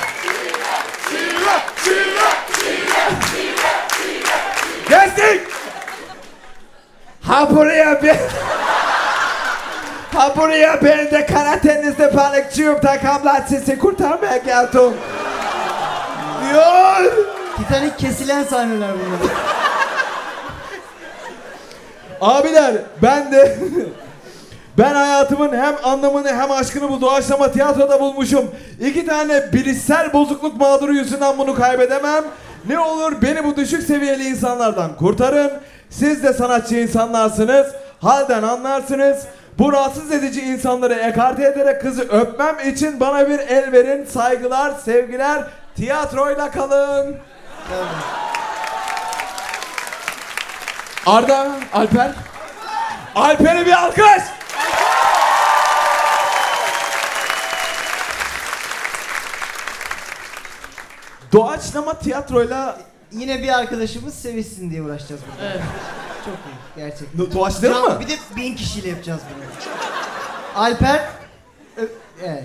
S5: Kestik.
S1: Ha buraya ben... ha buraya ben de Karadeniz'de balıkçıyım takamlar sizi kurtarmaya geldim. diyor.
S2: Titanic kesilen sahneler bunlar.
S1: Abiler ben de [laughs] ben hayatımın hem anlamını hem aşkını bu doğaçlama tiyatroda bulmuşum. İki tane bilişsel bozukluk mağduru yüzünden bunu kaybedemem. Ne olur beni bu düşük seviyeli insanlardan kurtarın. Siz de sanatçı insanlarsınız. Halden anlarsınız. Bu rahatsız edici insanları ekarte ederek kızı öpmem için bana bir el verin. Saygılar, sevgiler. Tiyatroyla kalın. Arda, Alper. Alper'e bir alkış. Doğaçlama tiyatroyla
S2: Yine bir arkadaşımız sevişsin diye uğraşacağız burada.
S4: Evet.
S2: Çok iyi. Gerçekten.
S1: Do- doğaçladın mı?
S2: Bir de bin kişiyle yapacağız bunu. Alper... Ö- Evet.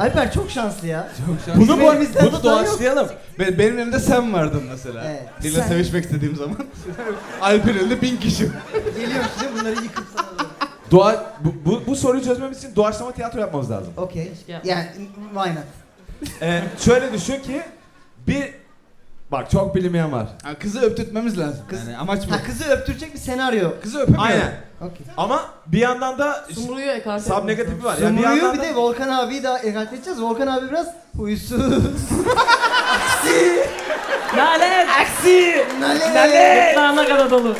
S2: Alper çok şanslı ya.
S1: Bunu bu
S2: Elimizden
S1: bunu
S2: tutan yok.
S1: doğaçlayalım.
S3: Be- benim elimde sen vardın mesela.
S2: Evet.
S3: Biriyle
S2: Sen.
S3: sevişmek istediğim zaman. [laughs] Alper'in elinde bin kişi.
S2: Geliyor şimdi bunları yıkıp sana doğru.
S1: Doğa bu, bu, bu soruyu çözmemiz için doğaçlama tiyatro yapmamız lazım.
S2: Okey.
S4: Keşke
S2: Yani why not?
S1: Ee, şöyle düşün ki bir bak çok bilinmeyen var.
S3: Ha, kızı öptürtmemiz lazım. Yani amaç bu.
S2: Ha kızı öptürecek bir senaryo.
S3: Kızı öpemiyorum.
S1: Aynen.
S2: Okey.
S1: Ama bir yandan da
S4: Sumru'yu ekarte
S1: sub
S4: etmemiz
S1: negatifi var. Yani bir
S2: Sumru'yu
S1: yandan
S2: bir
S1: da-
S2: de Volkan abiyi daha ekart edeceğiz. Volkan abi biraz huysuz. Aksi.
S4: lazım. Nalet!
S5: Aksi.
S2: Nale.
S4: Gırtlağına kadar dolu.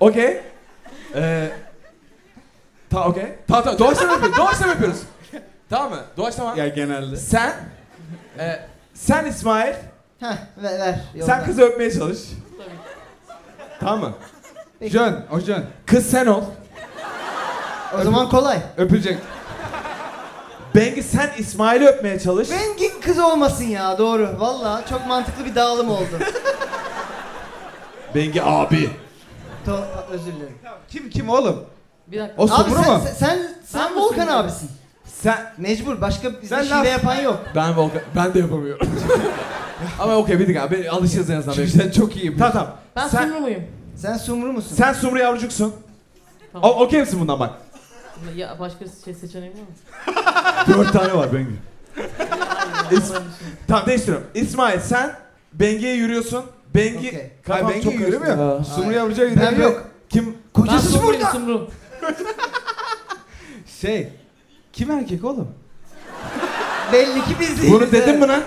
S1: Okey. Ee, ta okey. Tamam tamam doğaçlama yapıyoruz. Doğaçlama yapıyoruz. Tamam mı? Doğaçlama.
S3: Ya genelde.
S1: Sen e, sen İsmail,
S2: Heh ver. ver yolla.
S1: sen kızı öpmeye çalış.
S4: Tabii.
S1: Tamam mı?
S2: Peki.
S3: Jön, o Jön.
S1: Kız sen ol.
S2: O zaman kolay.
S3: Öpülecek.
S1: Bengi sen İsmail'i öpmeye çalış.
S2: Bengi kız olmasın ya doğru. Valla çok mantıklı bir dağılım oldu.
S1: Bengi abi.
S2: to özür dilerim.
S3: Kim kim oğlum?
S4: Bir
S3: O
S4: dakika.
S2: Abi
S3: Sumru
S2: sen,
S3: mu?
S2: sen, sen, sen
S4: Ben
S2: Volkan
S4: Sumru.
S2: abisin.
S1: Sen
S2: Mecbur başka bizde
S3: Sen
S2: şile
S3: laf-
S2: yapan yok.
S1: ben Volkan, ben de yapamıyorum.
S3: [laughs]
S1: Ama okey bir dakika. Ben alışırız en azından.
S3: Çünkü sen çok iyi.
S1: tamam tamam.
S4: Ben
S1: sen,
S4: Sumru muyum?
S2: Sen Sumru musun?
S1: sen Sumru yavrucuksun.
S4: Tamam.
S1: O- Okey misin bundan bak?
S4: Ya başka şey seçeneğim var mı?
S1: Dört tane var Bengi. İs- tamam değiştiriyorum. İsmail sen Bengi'ye yürüyorsun. Bengi
S2: Okey.
S1: kafam
S3: Hayır, Bengi
S1: çok karıştı.
S3: yürümüyor.
S1: Ha.
S3: Sumru
S2: Aynen.
S3: Yavruca
S2: ben
S3: gidelim.
S2: yok.
S1: Kim
S4: Ben
S2: Kocası
S4: Sumru'yum
S2: burada.
S4: Sumru.
S3: Şey. Kim erkek oğlum?
S2: Belli ki biz değiliz.
S1: bunu dedim mi lan?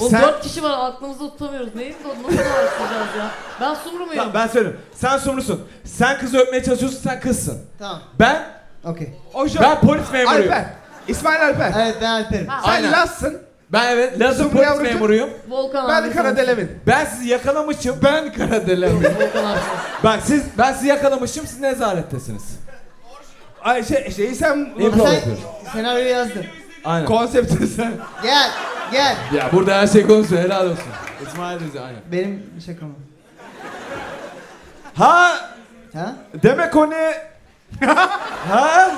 S4: O
S1: Sen-
S4: dört kişi var aklımızda tutamıyoruz. Neyiz o nasıl araştıracağız ya? Ben Sumru muyum?
S1: Tamam, ben söylüyorum. Sen Sumru'sun. Sen kızı öpmeye çalışıyorsun. Sen kızsın.
S2: Tamam.
S1: Ben
S2: Okey.
S3: O Jön.
S1: ben polis memuruyum.
S3: Alper. İsmail Alper.
S2: Evet ben Alper'im.
S4: Ha,
S3: Sen
S1: Aynen.
S3: Las'sın.
S1: Ben evet Lazım
S3: Sumru
S1: polis
S3: yavrucu.
S1: memuruyum.
S4: Volkan abi.
S3: Ben
S4: sensin.
S3: Karadelemin.
S1: Ben sizi yakalamışım. Ben Karadelen. [laughs]
S4: Volkan abi. sensin.
S1: ben siz ben sizi yakalamışım. Siz nezarettesiniz.
S3: Ay şey, şeyi sen...
S1: İmro
S2: Sen
S1: yapıyorum.
S2: senaryoyu yazdın.
S1: Aynen.
S3: Konsepti sen.
S2: Gel. Gel.
S1: ya burada her şey konuşuyor. Helal olsun. İsmail bize aynen.
S2: Benim şakam. o.
S1: Ha
S2: Ha?
S1: demek o ne? ha?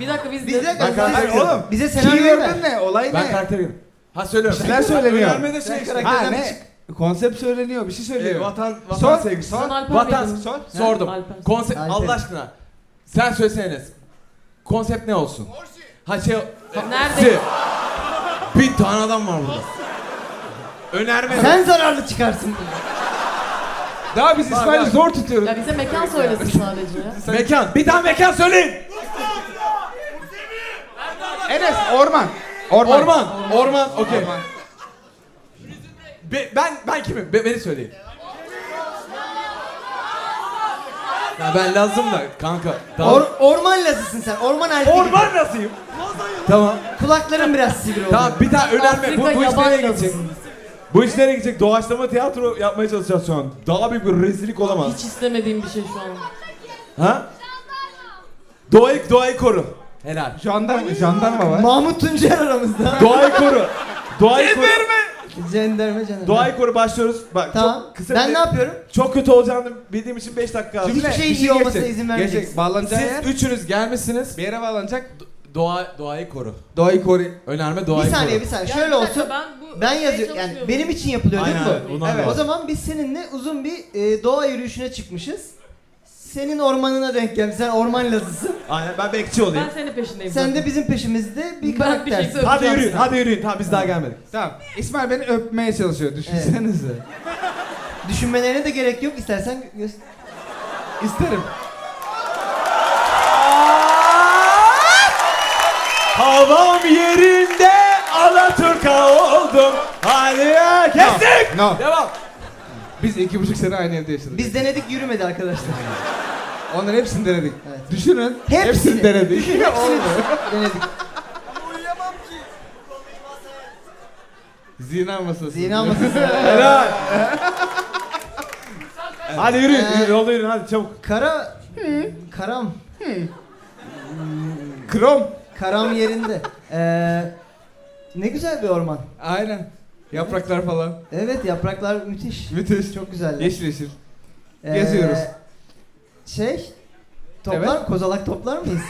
S4: Bir dakika biz
S2: Bize,
S4: de...
S1: karakter-
S2: bize,
S3: Oğlum.
S2: bize senaryo ver.
S3: Keyword'ün ne? Olay
S1: Ben
S3: ne?
S1: karakter girdim. Ha söylüyorum.
S3: Şeyler söyleniyor.
S1: Önermede şey
S2: Sen
S1: işte.
S2: karakter-
S3: Ha
S2: Karakterden
S3: ne? Konsept söyleniyor, bir şey söyleniyor.
S1: Ee, vatan, vatan
S3: Sor,
S1: sevgisi.
S4: Sen Alper
S1: Vatan,
S4: miydin?
S3: Sor.
S1: Sordum.
S4: Alper.
S1: Konsept,
S2: Alper.
S1: Allah aşkına. Sen söyleseniz. Konsept ne olsun? Ha şey... e,
S4: nerede?
S1: si. Bir tane adam var burada. Önerme.
S2: Sen zararlı çıkarsın.
S3: Daha biz İsmail'i zor tutuyoruz.
S4: Ya bize mekan söylesin sadece ya.
S1: Mekan. Bir tane mekan söyleyin.
S3: Enes orman. Orman.
S1: Orman. Orman. Okey. Be- ben ben kimim? Be- beni söyleyin. Ya ben lazım da kanka. Tamam.
S2: Or- orman lazısın sen. Orman halinde.
S1: Orman nasılayım? Tamam.
S2: Kulakların biraz sivri oluyor.
S1: Tamam bir daha önerme. Bu, bu iş
S4: yaban
S1: nereye
S4: yazısı.
S1: gidecek? Bu iş nereye gidecek? Doğaçlama tiyatro yapmaya çalışacağız şu an. Daha büyük bir rezillik olamaz.
S4: Hiç istemediğim bir şey şu an.
S1: Ha? Doğayı, doğayı koru. Helal.
S3: Jandarma, jandarma var.
S2: Mahmut Tuncer aramızda.
S1: Doğayı koru. Doğayı koru.
S2: Cenderme canım.
S1: Doğayı koru başlıyoruz. Bak
S2: Tamam.
S1: çok kısa
S2: Ben
S1: bir-
S2: ne yapıyorum?
S1: Çok kötü olacağını bildiğim için 5 dakika aldım.
S2: Şimdi- Hiçbir şey iyi olmasına izin vermeyeceksin.
S3: Gerçek bağlanacağı yer.
S1: Siz üçünüz gelmişsiniz.
S3: Bir yere bağlanacak.
S1: Doğa, doğayı koru.
S3: Doğayı koru.
S1: Önerme doğayı
S2: bir saniye
S1: koru.
S2: bir saniye.
S4: Yani
S2: Şöyle
S4: bir dakika,
S2: olsun.
S4: Ben, bu
S2: Ben
S4: şey
S2: yazıyorum yani
S4: çalışmıyorum.
S2: benim için yapılıyor değil mi
S1: Aynen,
S2: bu?
S1: bundan
S3: Evet.
S1: dolayı.
S2: O zaman biz seninle uzun bir e, doğa yürüyüşüne çıkmışız. Senin ormanına denk gelmiş. Sen orman lazısın.
S1: Aynen ben bekçi olayım.
S4: Ben senin peşindeyim.
S2: Sen
S4: zaten.
S2: de bizim peşimizde bir
S4: Ben bir şey
S2: karaktersin.
S4: söyleyeyim.
S1: Hadi yürüyün, hadi yürüyün. Tamam biz daha gelmedik.
S3: Tamam. İsmail beni öpmeye çalışıyor. Düşünsenize.
S2: Düşünmelerine de gerek yok. İstersen göster.
S3: İsterim.
S1: Havam yerinde Alaturka oldum. Hadi ya, kestik.
S3: No.
S1: Devam.
S3: Biz iki buçuk sene aynı evde yaşadık.
S2: Biz denedik
S1: [laughs]
S2: yürümedi arkadaşlar.
S3: Onların hepsini denedik.
S2: Evet.
S3: Düşünün.
S2: Hepsini.
S1: [laughs]
S3: denedik.
S2: Hepsini denedik.
S3: Zina masası.
S2: Zina masası.
S1: [laughs] Helal. hadi yürüyün, yürüyün, yolda yürüyün hadi çabuk.
S2: Kara... Karam.
S3: Krom.
S2: Karam yerinde. Ee, ne güzel bir orman.
S3: Aynen. Yapraklar falan.
S2: Evet yapraklar müthiş.
S3: Müthiş.
S2: Çok güzeller.
S3: Yeşil yeşil.
S2: Ee,
S3: geziyoruz.
S2: Şey... Toplar,
S3: Evet.
S2: kozalak toplar
S3: [laughs]
S2: mıyız?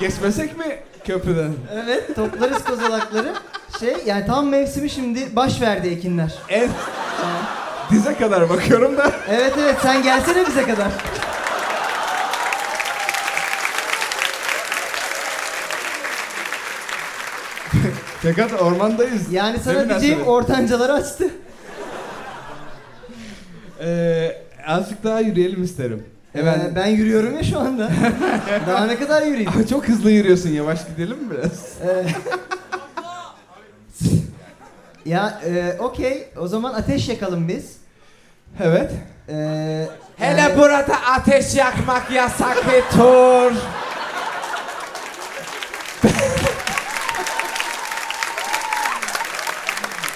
S3: Geçmesek mi köprüden?
S2: evet, toplarız kozalakları. Şey, yani tam mevsimi şimdi baş verdi ekinler.
S3: En... Dize kadar bakıyorum da.
S2: Evet evet, sen gelsene bize kadar.
S3: Fakat ormandayız.
S2: Yani
S3: Ne
S2: sana
S3: münasebet.
S2: diyeceğim ortancaları açtı.
S3: Ee, azıcık daha yürüyelim isterim.
S1: Ee,
S2: Evet.
S3: Efendim.
S2: Ee, ben yürüyorum ya şu
S3: [laughs]
S2: anda. Daha ne kadar yürüyeyim?
S3: Ama Çok hızlı yürüyorsun. Yavaş gidelim mi biraz?
S2: Ee, ya e, okey, o zaman ateş yakalım biz.
S3: Evet.
S2: Ee, yani-
S1: Hele burada ateş yakmak yasak bir tur.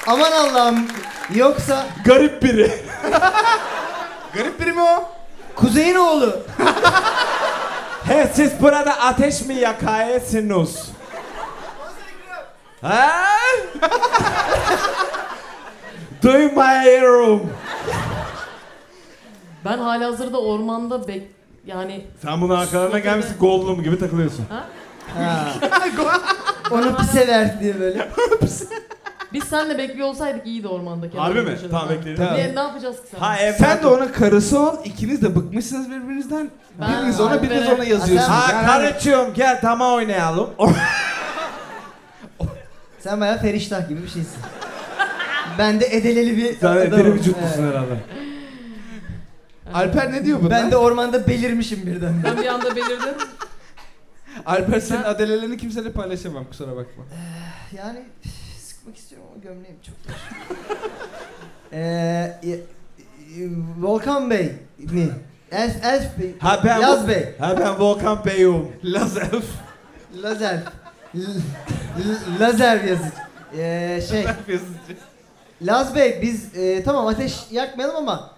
S2: Aman Allah'ım, yoksa
S1: Garip biri.
S3: [laughs] Garip biri mi o?
S2: Kuzey'in oğlu.
S1: [laughs] He siz burada ateş mi yakıyorsunuz?
S3: [laughs]
S1: Ha? Duymayırım.
S4: Ben halihazırda ormanda bek... Yani
S1: Sen bunun arkalarına gelmişsin Gollum gibi takılıyorsun.
S2: Ha.
S3: [laughs]
S2: Onu pise ver diye böyle.
S4: biz senle bekliyor olsaydık iyiydi ormanda. kendi
S1: Harbi mi?
S4: başımıza.
S1: Tamam bekleyelim.
S3: Tamam.
S4: Ne, ne yapacağız ki sen?
S1: Ha e- evet.
S3: Sen de onun karısı ol. İkiniz de bıkmışsınız birbirinizden.
S4: Ben-
S3: biriniz ona biriniz
S4: Ben-
S3: ona yazıyorsunuz.
S1: Ha
S3: Yani-
S1: karıcığım gel tamam oynayalım.
S2: Sen bayağı feriştah gibi bir şeysin. Ben de edeleli bir
S1: Sen
S2: adamım.
S1: deli vücutlusun
S2: Evet.
S1: herhalde.
S3: Alper ne diyor bunlar?
S2: Ben de ormanda belirmişim birden.
S4: Ben bir anda belirdim.
S2: [laughs]
S3: Alper senin adelelerini kimseyle paylaşamam kusura bakma.
S2: Yani üf, sıkmak istiyorum ama gömleğim çok
S3: [laughs]
S2: dar. Ee, y- y- Volkan Bey mi? Elf, Elf Bey.
S1: Ha ben
S2: Laz Bey.
S1: Ha ben Volkan Bey'im.
S3: Laz elf.
S2: Lazer. L- L- Lazer yazıcı. Ee, şey. Laz Bey biz e, tamam ateş yakmayalım ama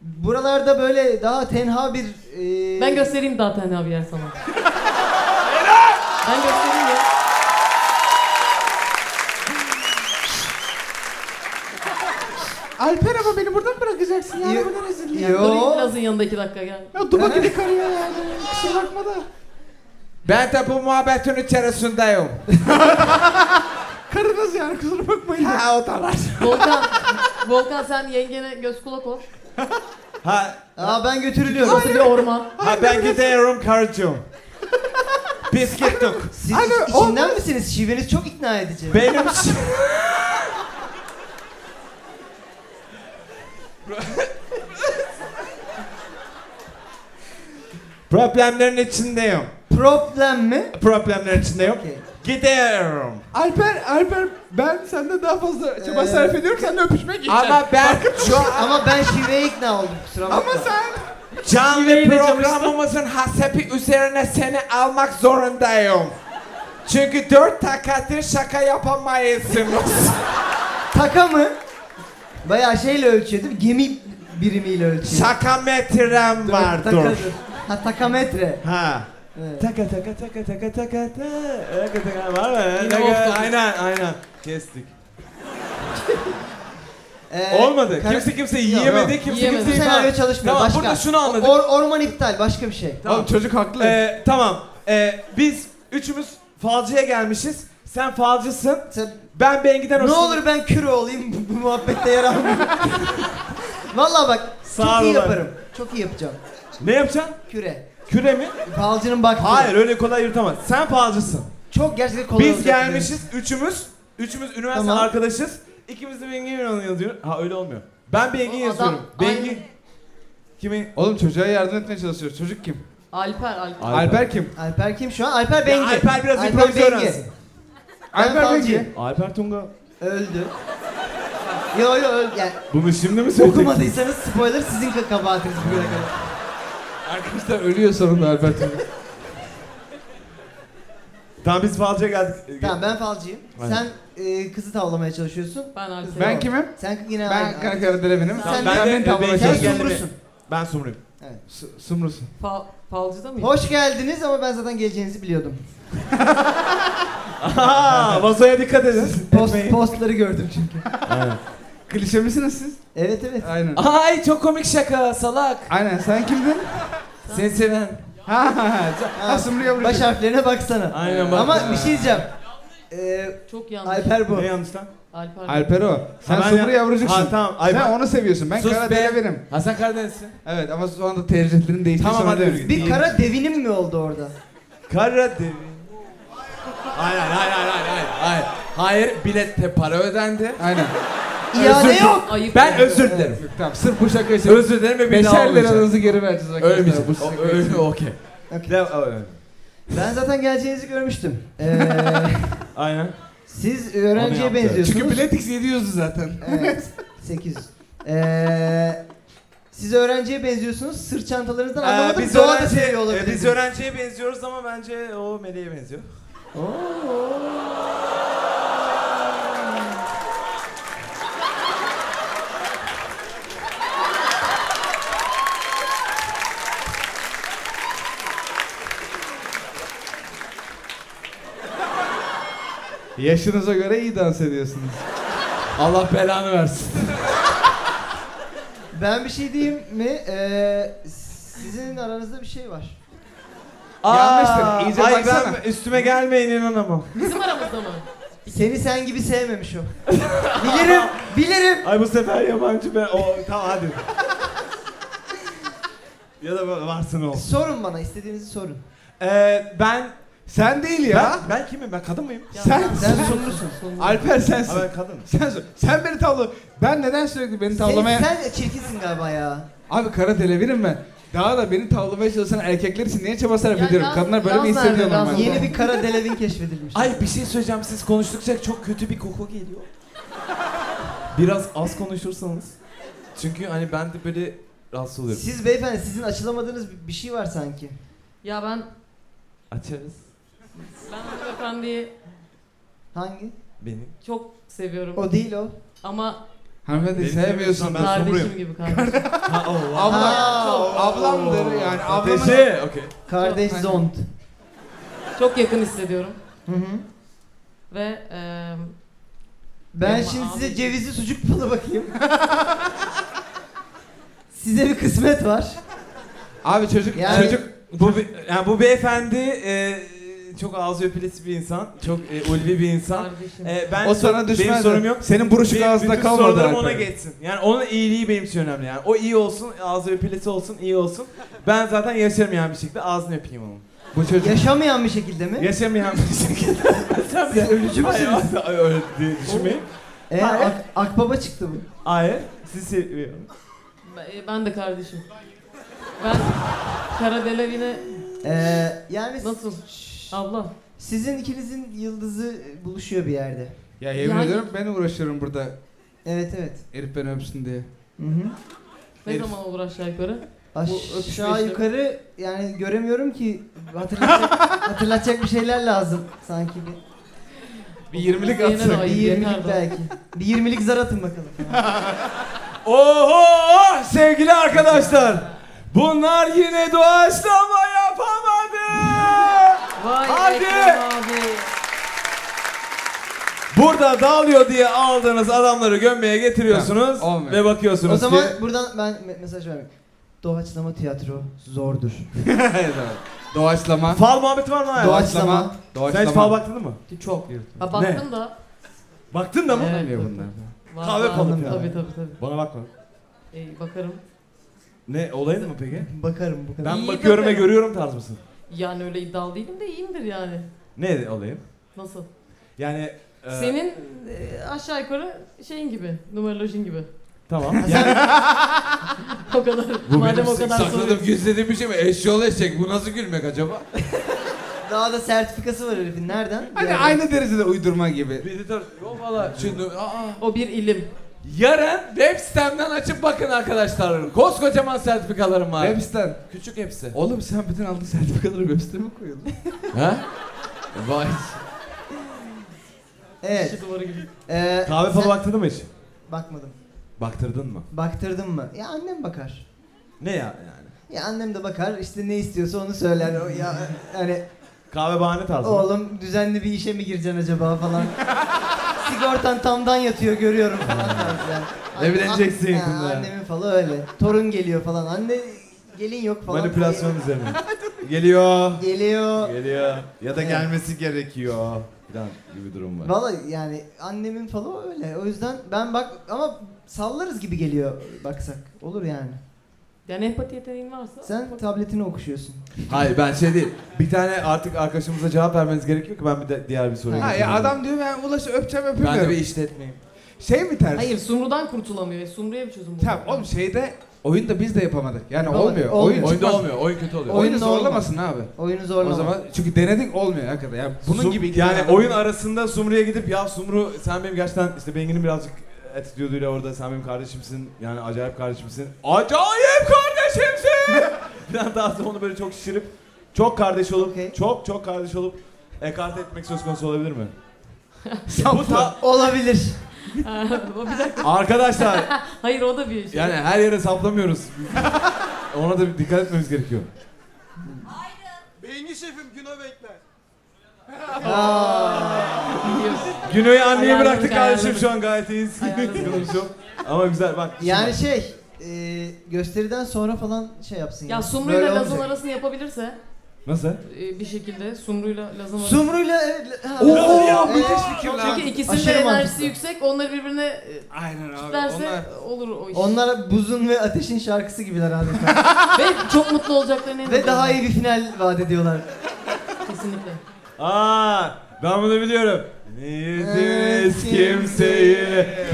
S2: buralarda böyle daha tenha bir e,
S4: Ben göstereyim zaten abi yer sana. ben göstereyim ya.
S3: Alper ama beni buradan bırakacaksın
S2: yani, Yo- bu
S3: ne
S2: Yo.
S4: Dur Laz'ın yanında iki dakika gel.
S3: Ya duba gibi karıyor yani kusura bakma da.
S1: Ben de bu muhabbetin içerisindeyim.
S3: [laughs] Karınız yani kusura bakmayın.
S1: ha o da var.
S4: Volkan, Volkan sen yengene göz kulak ol.
S1: Ha,
S2: Aa ben götürülüyorum.
S4: Burası bir orman.
S1: ha ben gidiyorum karıcığım. Biz gittik.
S2: Siz
S3: Alo,
S2: iç-
S3: o-
S2: içinden misiniz? Şiveniz çok ikna
S3: [laughs]
S2: edici.
S1: Benim şi-
S5: Problemlerin içindeyim.
S2: Problem mi?
S5: Problemlerin içindeyim.
S2: Okey.
S5: Gidiyorum.
S3: Alper, Alper ben senden daha fazla çaba
S2: Ee,
S3: sarf ediyorum. Sen de öpüşmeye geçeceğim.
S5: Ama ben şu an
S2: Ama ben şiveye ikna oldum kusura bakma.
S3: Ama sen...
S5: canlı
S3: Yemeği de
S5: programımızın hasepi üzerine seni almak zorundayım. Çünkü dört dakikadır şaka yapamayızsınız.
S2: Taka mı? Bayağı şeyle ölçüyor değil mi? Gemi birimiyle ölçüyor.
S5: şaka metrem var dur.
S2: Takadır. Ha takametre.
S5: Ha.
S2: Evet.
S1: Taka taka taka taka taka taka taka taka var mı?
S4: Yine
S1: Taka-
S4: olsun.
S1: Aynen aynen. Kestik.
S2: Ee,
S1: Olmadı.
S2: kara-
S1: Kimse kimse
S2: Yok,
S1: yiyemedi.
S2: yok.
S1: Kimse
S4: Yiyemedi.
S1: kimse
S2: Bu senaryo çalışmıyor.
S1: Tamam
S2: başka.
S1: burada şunu anladık.
S2: Or- orman iptal başka bir şey.
S1: Tamam.
S3: Oğlum çocuk haklı.
S1: Ee, tamam. Ee, biz üçümüz falcıya gelmişiz. Sen falcısın.
S2: Sen-
S1: Ben Bengi'den
S2: ne
S1: hoşlan-
S2: olur ben küre olayım bu, bu muhabbette yer almayayım.
S1: [laughs]
S2: Valla bak
S1: Sağ
S2: çok iyi
S1: olun.
S2: yaparım. Çok iyi yapacağım.
S1: Ne yapacaksın?
S2: Küre.
S1: Küre mi?
S2: Falcının baktığı.
S1: Hayır öyle kolay yürütemez. Sen falcısın.
S2: Çok gerçekten kolay
S1: Biz
S2: olacak
S1: gelmişiz üçümüz. Üçümüz üniversite
S2: Tamam.
S1: arkadaşız. İkimiz de Bengi yazıyoruz. Ha öyle olmuyor. Ben Bengi
S2: O adam-
S1: yazıyorum. Bengi.
S2: Aynen.
S1: Kimi?
S3: Oğlum çocuğa yardım etmeye çalışıyor. Çocuk kim?
S4: Alper, Alper.
S1: Alper.
S3: Alper, kim?
S2: benim. Alper kim şu an? Alper Bengi.
S1: Alper biraz improvize
S2: Bengi.
S1: öğrensin.
S2: Ben
S3: Alper
S2: falcıyım.
S3: Bengi.
S1: Alper Tunga.
S2: Öldü. yo yo öldü. Yani,
S1: Bunu şimdi mi söyledin?
S2: okumadıysanız spoiler sizin kabahatiniz bugüne kadar.
S3: Arkadaşlar ölüyor sonunda Alper [laughs] Tunga.
S1: Tamam biz falcıya geldik.
S2: Tamam ben falcıyım.
S1: Aynen.
S2: Sen e, kızı tavlamaya çalışıyorsun.
S4: Ben Alper.
S3: ben kimim?
S2: Sen yine
S3: Ben Karakara Derevinim.
S1: Tamam,
S2: Sen-
S1: ben,
S3: beni
S1: de
S3: tavlamaya
S1: Bengi'ye
S2: Sen
S3: çalışıyorsun.
S1: geldim.
S2: sumrusun.
S1: Ben sumruyum.
S3: Su- Sumrusun.
S4: Fal- falcıda mıyım?
S2: Hoş geldiniz ama ben zaten geleceğinizi biliyordum.
S1: Aha, vazoya dikkat edin.
S2: Post, postları gördüm çünkü.
S3: Klişe misiniz siz?
S2: evet evet.
S3: Aynen.
S1: Ay çok komik şaka salak.
S3: Aynen sen kimdin?
S1: Seni seven.
S3: Ha ha ha. Ha Sumru'ya vuruyor.
S2: Baş harflerine baksana.
S1: Aynen bak.
S2: Ama bir şey diyeceğim. Ee,
S4: Çok yanlış.
S2: Alper bu.
S1: Ne yanlış lan?
S4: Alper.
S3: Alper o. Sen
S1: Ha, ben
S3: Sumru
S1: ya-
S3: yavrucuksun.
S1: Ha, tamam. Ay,
S3: sen
S1: ben-
S3: onu seviyorsun. Ben
S1: Sus
S3: Kara
S1: be.
S3: Derevinim.
S1: Ha sen Karadenizsin.
S3: Evet ama şu anda tercihlerin değişti.
S1: Tamam,
S3: sonra
S1: hadi
S3: devreye
S1: yürü git.
S3: girdi.
S2: Bir kara devinim mi oldu orada?
S1: Karadeniz. Hayır hayır hayır hayır hayır. Hayır, hayır bilette para ödendi.
S3: Aynen.
S2: İade yok.
S4: Ayıp.
S1: Ben
S4: yani.
S1: özür dilerim.
S3: Yok, Tamam sırf bu şaka için.
S1: Özür dilerim ve bir daha
S3: Beşer
S1: olmayacak.
S3: liranızı geri vereceğiz arkadaşlar. Bu
S1: Ölmeyecek.
S3: şaka
S1: O-
S3: için.
S1: Öyle okey.
S2: Okey.
S1: De- öyle.
S2: Ben zaten geleceğinizi görmüştüm.
S1: [laughs]
S2: Ee,
S1: Aynen.
S2: siz
S1: Onu
S2: öğrenciye
S1: yaptı.
S2: benziyorsunuz.
S3: Çünkü biletix 700'dü zaten.
S2: Evet. 800. Ee, siz öğrenciye benziyorsunuz. Sırt çantalarınızdan anlamadım.
S1: Ee, biz,
S2: Doğa da
S1: öğrenci-
S2: seviyor
S1: e,
S2: şey olabilir.
S1: biz öğrenciye benziyoruz ama bence o meleğe benziyor.
S3: Yaşınıza göre iyi dans ediyorsunuz.
S1: Allah belanı versin.
S2: Ben bir şey diyeyim mi? Ee, sizin aranızda bir şey var.
S3: Yanlıştır, iyice
S1: ay
S3: baksana.
S1: ben üstüme gelmeyin inanamam.
S4: Bizim aramızda mı?
S2: Seni sen gibi sevmemiş o.
S1: [laughs]
S2: bilirim, bilirim.
S1: Ay bu sefer yabancı ben. O, tamam hadi. ya da böyle varsın ol.
S2: Sorun bana, istediğinizi sorun.
S1: Ee, ben
S3: Sen değil ya.
S1: Ben, ben kimim? Ben kadın mıyım?
S4: Ya,
S3: Sen-
S2: Sen
S4: sen-
S2: sorumlusun.
S3: Alper sensin.
S1: Ha, ben kadınım.
S3: Sen sor- Sen beni tavla. Ben neden sürekli beni tavlamaya...
S2: Sen, sen çirkinsin galiba ya.
S3: Abi kara delevinim ben. Daha da beni tavlamaya çalışan erkekler için niye çaba sarf
S4: Ya
S3: ediyorum?
S4: Laz-
S3: Kadınlar böyle mi
S4: Lazlar
S3: hissediyor
S4: ve Lazlar.
S3: normalde?
S2: Yeni bir kara delevin keşfedilmiş.
S1: Ay bir şey söyleyeceğim. Siz konuştukça çok kötü bir koku geliyor. Biraz az konuşursanız. Çünkü hani ben de böyle rahatsız oluyorum.
S2: Siz beyefendi sizin açılamadığınız bir- bir şey var sanki.
S4: Ya ben
S1: Açarız.
S4: ben hanımefendiyi
S2: Hangi?
S1: Benim.
S4: çok seviyorum.
S2: O değil o.
S4: Ama
S3: Hanımefendi
S1: Beni
S3: sevmiyorsun.
S1: sevmiyorsan Ben
S4: kardeşim
S1: somruyum.
S4: gibi kardeşim.
S1: Ha o. wow.
S3: Abla,
S2: Ha,
S3: ablamdır yani. Ablamın...
S1: Ateşi. Okey.
S2: Kardeş
S3: Yok,
S2: Zond.
S4: çok yakın hissediyorum.
S2: Hı hı.
S4: Ve eee
S2: Ben
S4: Ama
S2: şimdi size
S4: abi-
S2: cevizli sucuk balı bakayım. size bir kısmet var.
S3: Abi çocuk...
S2: Yani-
S3: Çocuk...
S1: Bu bir- yani bu beyefendi e, çok ağzı öpülesi bir insan. Çok e, ulvi bir insan.
S4: kardeşim.
S1: E, ben
S3: o sana düşmez.
S1: Benim sorum yok.
S3: Senin buruşuk
S1: Benim
S3: ağzında
S1: bütün
S3: kalmadı
S1: sorularım
S3: Alper.
S1: ona geçsin. Yani onun iyiliği benim için önemli yani. O iyi olsun, ağzı öpülesi olsun, iyi olsun. Ben zaten yaşamayan bir şekilde ağzını öpeyim onun.
S3: Bu çocuk...
S2: Yaşamayan bir şekilde mi?
S1: Yaşamayan
S3: [laughs]
S1: bir şekilde. Sen de
S2: ölücü
S1: Hayır,
S2: müsünüz?
S1: hayır, Öyle diye düşünmeyin.
S2: Ee,
S1: Hayır.
S2: ak- akbaba çıktı bu.
S1: Hayır, sizi seviyorum.
S4: Ben, e, ben de kardeşim. Ben Kara Delevingne
S2: Ee, yani
S4: nasıl? Abla.
S2: sizin ikinizin yıldızı buluşuyor bir yerde.
S3: Ya yemin
S4: Yani-
S3: ediyorum ben uğraşıyorum burada
S2: Evet evet.
S3: herif beni öpsün diye.
S2: Hı hı.
S4: Ne
S3: Herif.
S4: zaman olur aşağı yukarı? Bu öpüşme
S2: Aşağı
S4: işleri.
S2: yukarı yani göremiyorum ki
S4: [laughs]
S2: hatırlatacak, hatırlatacak bir şeyler lazım sanki bir.
S3: Bir 20'lik
S4: Yine de
S3: atsak.
S4: Ay,
S2: bir 20'lik
S4: yeter be.
S2: belki. Bir 20'lik zar atın bakalım.
S1: Oho sevgili arkadaşlar. Bunlar yine doğaçlama yapamadı.
S4: Vay
S1: Hadi!
S4: Ekrem abi.
S1: Burada dağılıyor diye aldığınız adamları gömmeye getiriyorsunuz
S3: Tamam, olmuyor.
S1: ve bakıyorsunuz
S2: o zaman
S1: ki [laughs]
S2: buradan ben me- mesaj vermek. Doğaçlama tiyatro zordur. [laughs]
S3: Evet, evet. Doğaçlama.
S1: fal muhabbeti var mı hayatım?
S2: Doğaç-
S3: Doğaçlama.
S1: Sen
S3: Doğaçlama.
S1: hiç fal baktın mı?
S4: Çok. Ha baktın da.
S1: Baktın da mı?
S4: Evet,
S3: Anlamıyor
S4: tabii.
S3: bunlar.
S4: Var,
S1: Kahve
S4: var.
S1: falı
S2: falan.
S4: Tabii tabii tabii.
S1: Bana bakma.
S4: Ee, bakarım.
S1: Ne olayın mı peki?
S2: Bakarım bu kadar.
S1: Ben
S4: İyi
S1: bakıyorum ve
S4: bakarım.
S1: görüyorum tarz mısın?
S4: Yani öyle iddialı değilim de iyiyimdir yani.
S1: Ne olayım?
S4: Nasıl?
S1: Yani
S3: Ee,
S1: e,
S4: Senin e, aşağı yukarı şeyin gibi, numerolojin gibi. [laughs]
S1: tamam.
S4: O kadar.
S3: Bu
S4: madem
S3: benim
S4: o kadar soruyorsun.
S3: sakladığım gizlediğim bir şey mi? Eşyol eşek. Bu nasıl gülmek acaba?
S2: Daha da sertifikası var herifin. Nereden?
S3: Hani
S2: Yani-
S3: aynı derecede uydurma gibi.
S1: Predator. Yok valla.
S3: Şimdi aa.
S4: O bir ilim.
S1: Yarın web sitemden açıp bakın arkadaşlar. Koskocaman sertifikalarım var.
S3: Web siten.
S1: Küçük hepsi.
S3: Oğlum sen bütün aldığın sertifikaları web siteme mi
S1: [laughs]
S3: koyuyorsun?
S1: ha?
S3: Vay.
S2: Evet.
S4: Şişe duvarı gibi.
S2: Ee,
S1: Kahve
S2: sen-
S1: falı baktırdın mı hiç?
S2: Bakmadım.
S1: Baktırdın mı?
S2: Baktırdın mı? Ya annem bakar.
S1: Ne ya yani?
S2: Ya annem de bakar işte ne istiyorsa onu söyler. O ya hani
S1: Kahve bahane tarzı. mı?
S2: oğlum düzenli bir işe mi gireceksin acaba falan. Sigortan tamdan yatıyor görüyorum falan tarzı yani. Anne-
S1: Evleneceksin
S2: Ha,
S1: yakında.
S2: Annemin falan öyle. Torun geliyor falan. Anne gelin yok falan.
S1: Manipülasyon üzerine. Geliyor.
S2: Geliyor.
S1: Geliyor. Ya da
S2: Evet.
S1: gelmesi gerekiyor. Falan gibi durum var.
S2: Valla yani annemin falan öyle. O yüzden ben bak ama sallarız gibi geliyor baksak. Olur yani.
S4: Yani empati yeteneğin varsa.
S2: Sen tabletini okuşuyorsun.
S1: Hayır ben şey değil. Bir tane artık arkadaşımıza cevap vermeniz gerekiyor ki ben bir de diğer bir soruya
S2: Ha,
S3: Ha ya
S1: geçeyim.
S3: adam diyor ben Ulaş'ı öpeceğim
S1: ben
S3: öpemiyorum.
S1: de bir işletmeyim.
S3: Şey mi ters?
S4: Hayır, Sumru'dan kurtulamıyor. E, Sumru'ya bir çözüm bul.
S3: Tamam oğlum şeyde oyunda biz de yapamadık. Yani
S2: Yapamadık,
S3: olmuyor.
S2: olmuyor.
S3: Oyun
S1: Oyunda
S3: çıkmaz.
S1: olmuyor. Oyun kötü oluyor.
S2: Oyun-
S3: Oyunu
S2: Oyunda
S3: zorlamasın abi.
S2: Oyunu zorlama.
S3: O zaman çünkü denedik olmuyor hakikaten. Yani bunun
S1: Zum-
S3: gibi iki
S1: yani
S3: tane-
S1: oyun arasında Sumru'ya gidip ya Sumru sen benim gerçekten işte Bengi'nin birazcık etiyorduyla orada sen benim kardeşimsin yani acayip kardeşimsin. Acayip kardeşimsin! [laughs] Falan daha sonra onu böyle çok şişirip çok kardeş olup
S2: Okey.
S1: çok çok kardeş olup ekart etmek söz konusu olabilir
S2: [laughs]
S1: mi?
S3: Sapla.
S1: Bu ta-
S2: Olabilir.
S4: [laughs] o bir dakika.
S1: Arkadaşlar
S4: Hayır o da bir şey.
S1: yani her yere saplamıyoruz. Ona da bir dikkat etmemiz gerekiyor.
S5: Beyni şefim güne bekler.
S4: Biliyorsun.
S1: Güney'i anneye
S4: Ayarladık,
S1: bıraktık kardeşim
S4: ayarladık.
S1: şu an gayet iyiyiz.
S4: Ayarladık.
S1: Konuşuyorum. [laughs] Ama güzel bak. şimdi-
S2: Yani şey, e, gösteriden sonra falan şey yapsın.
S4: Ya
S2: yani.
S4: Sumru'yla
S2: Böyle
S4: Laz'ın
S2: olmayacak.
S4: arasını yapabilirse
S1: Nasıl?
S4: e, bir şekilde Sumru'yla Laz'ın arasını...
S2: Sumru'yla... evet, ha,
S3: Oo,
S2: evet.
S3: müthiş fikir lan.
S4: Çünkü ikisinin de
S2: şey Aşırı
S4: enerjisi
S2: mantıklı.
S4: yüksek. Onları birbirine e,
S3: Aynen abi.
S4: kitlerse
S3: Onlar...
S4: olur o iş.
S2: Onlar buzun ve ateşin şarkısı gibiler
S4: [laughs]
S2: adeta.
S4: Ve çok mutlu olacaklarını
S2: ve daha iyi bir final vaat ediyorlar.
S4: Kesinlikle.
S1: Aa, ben bunu biliyorum. Niyetimiz kimseyi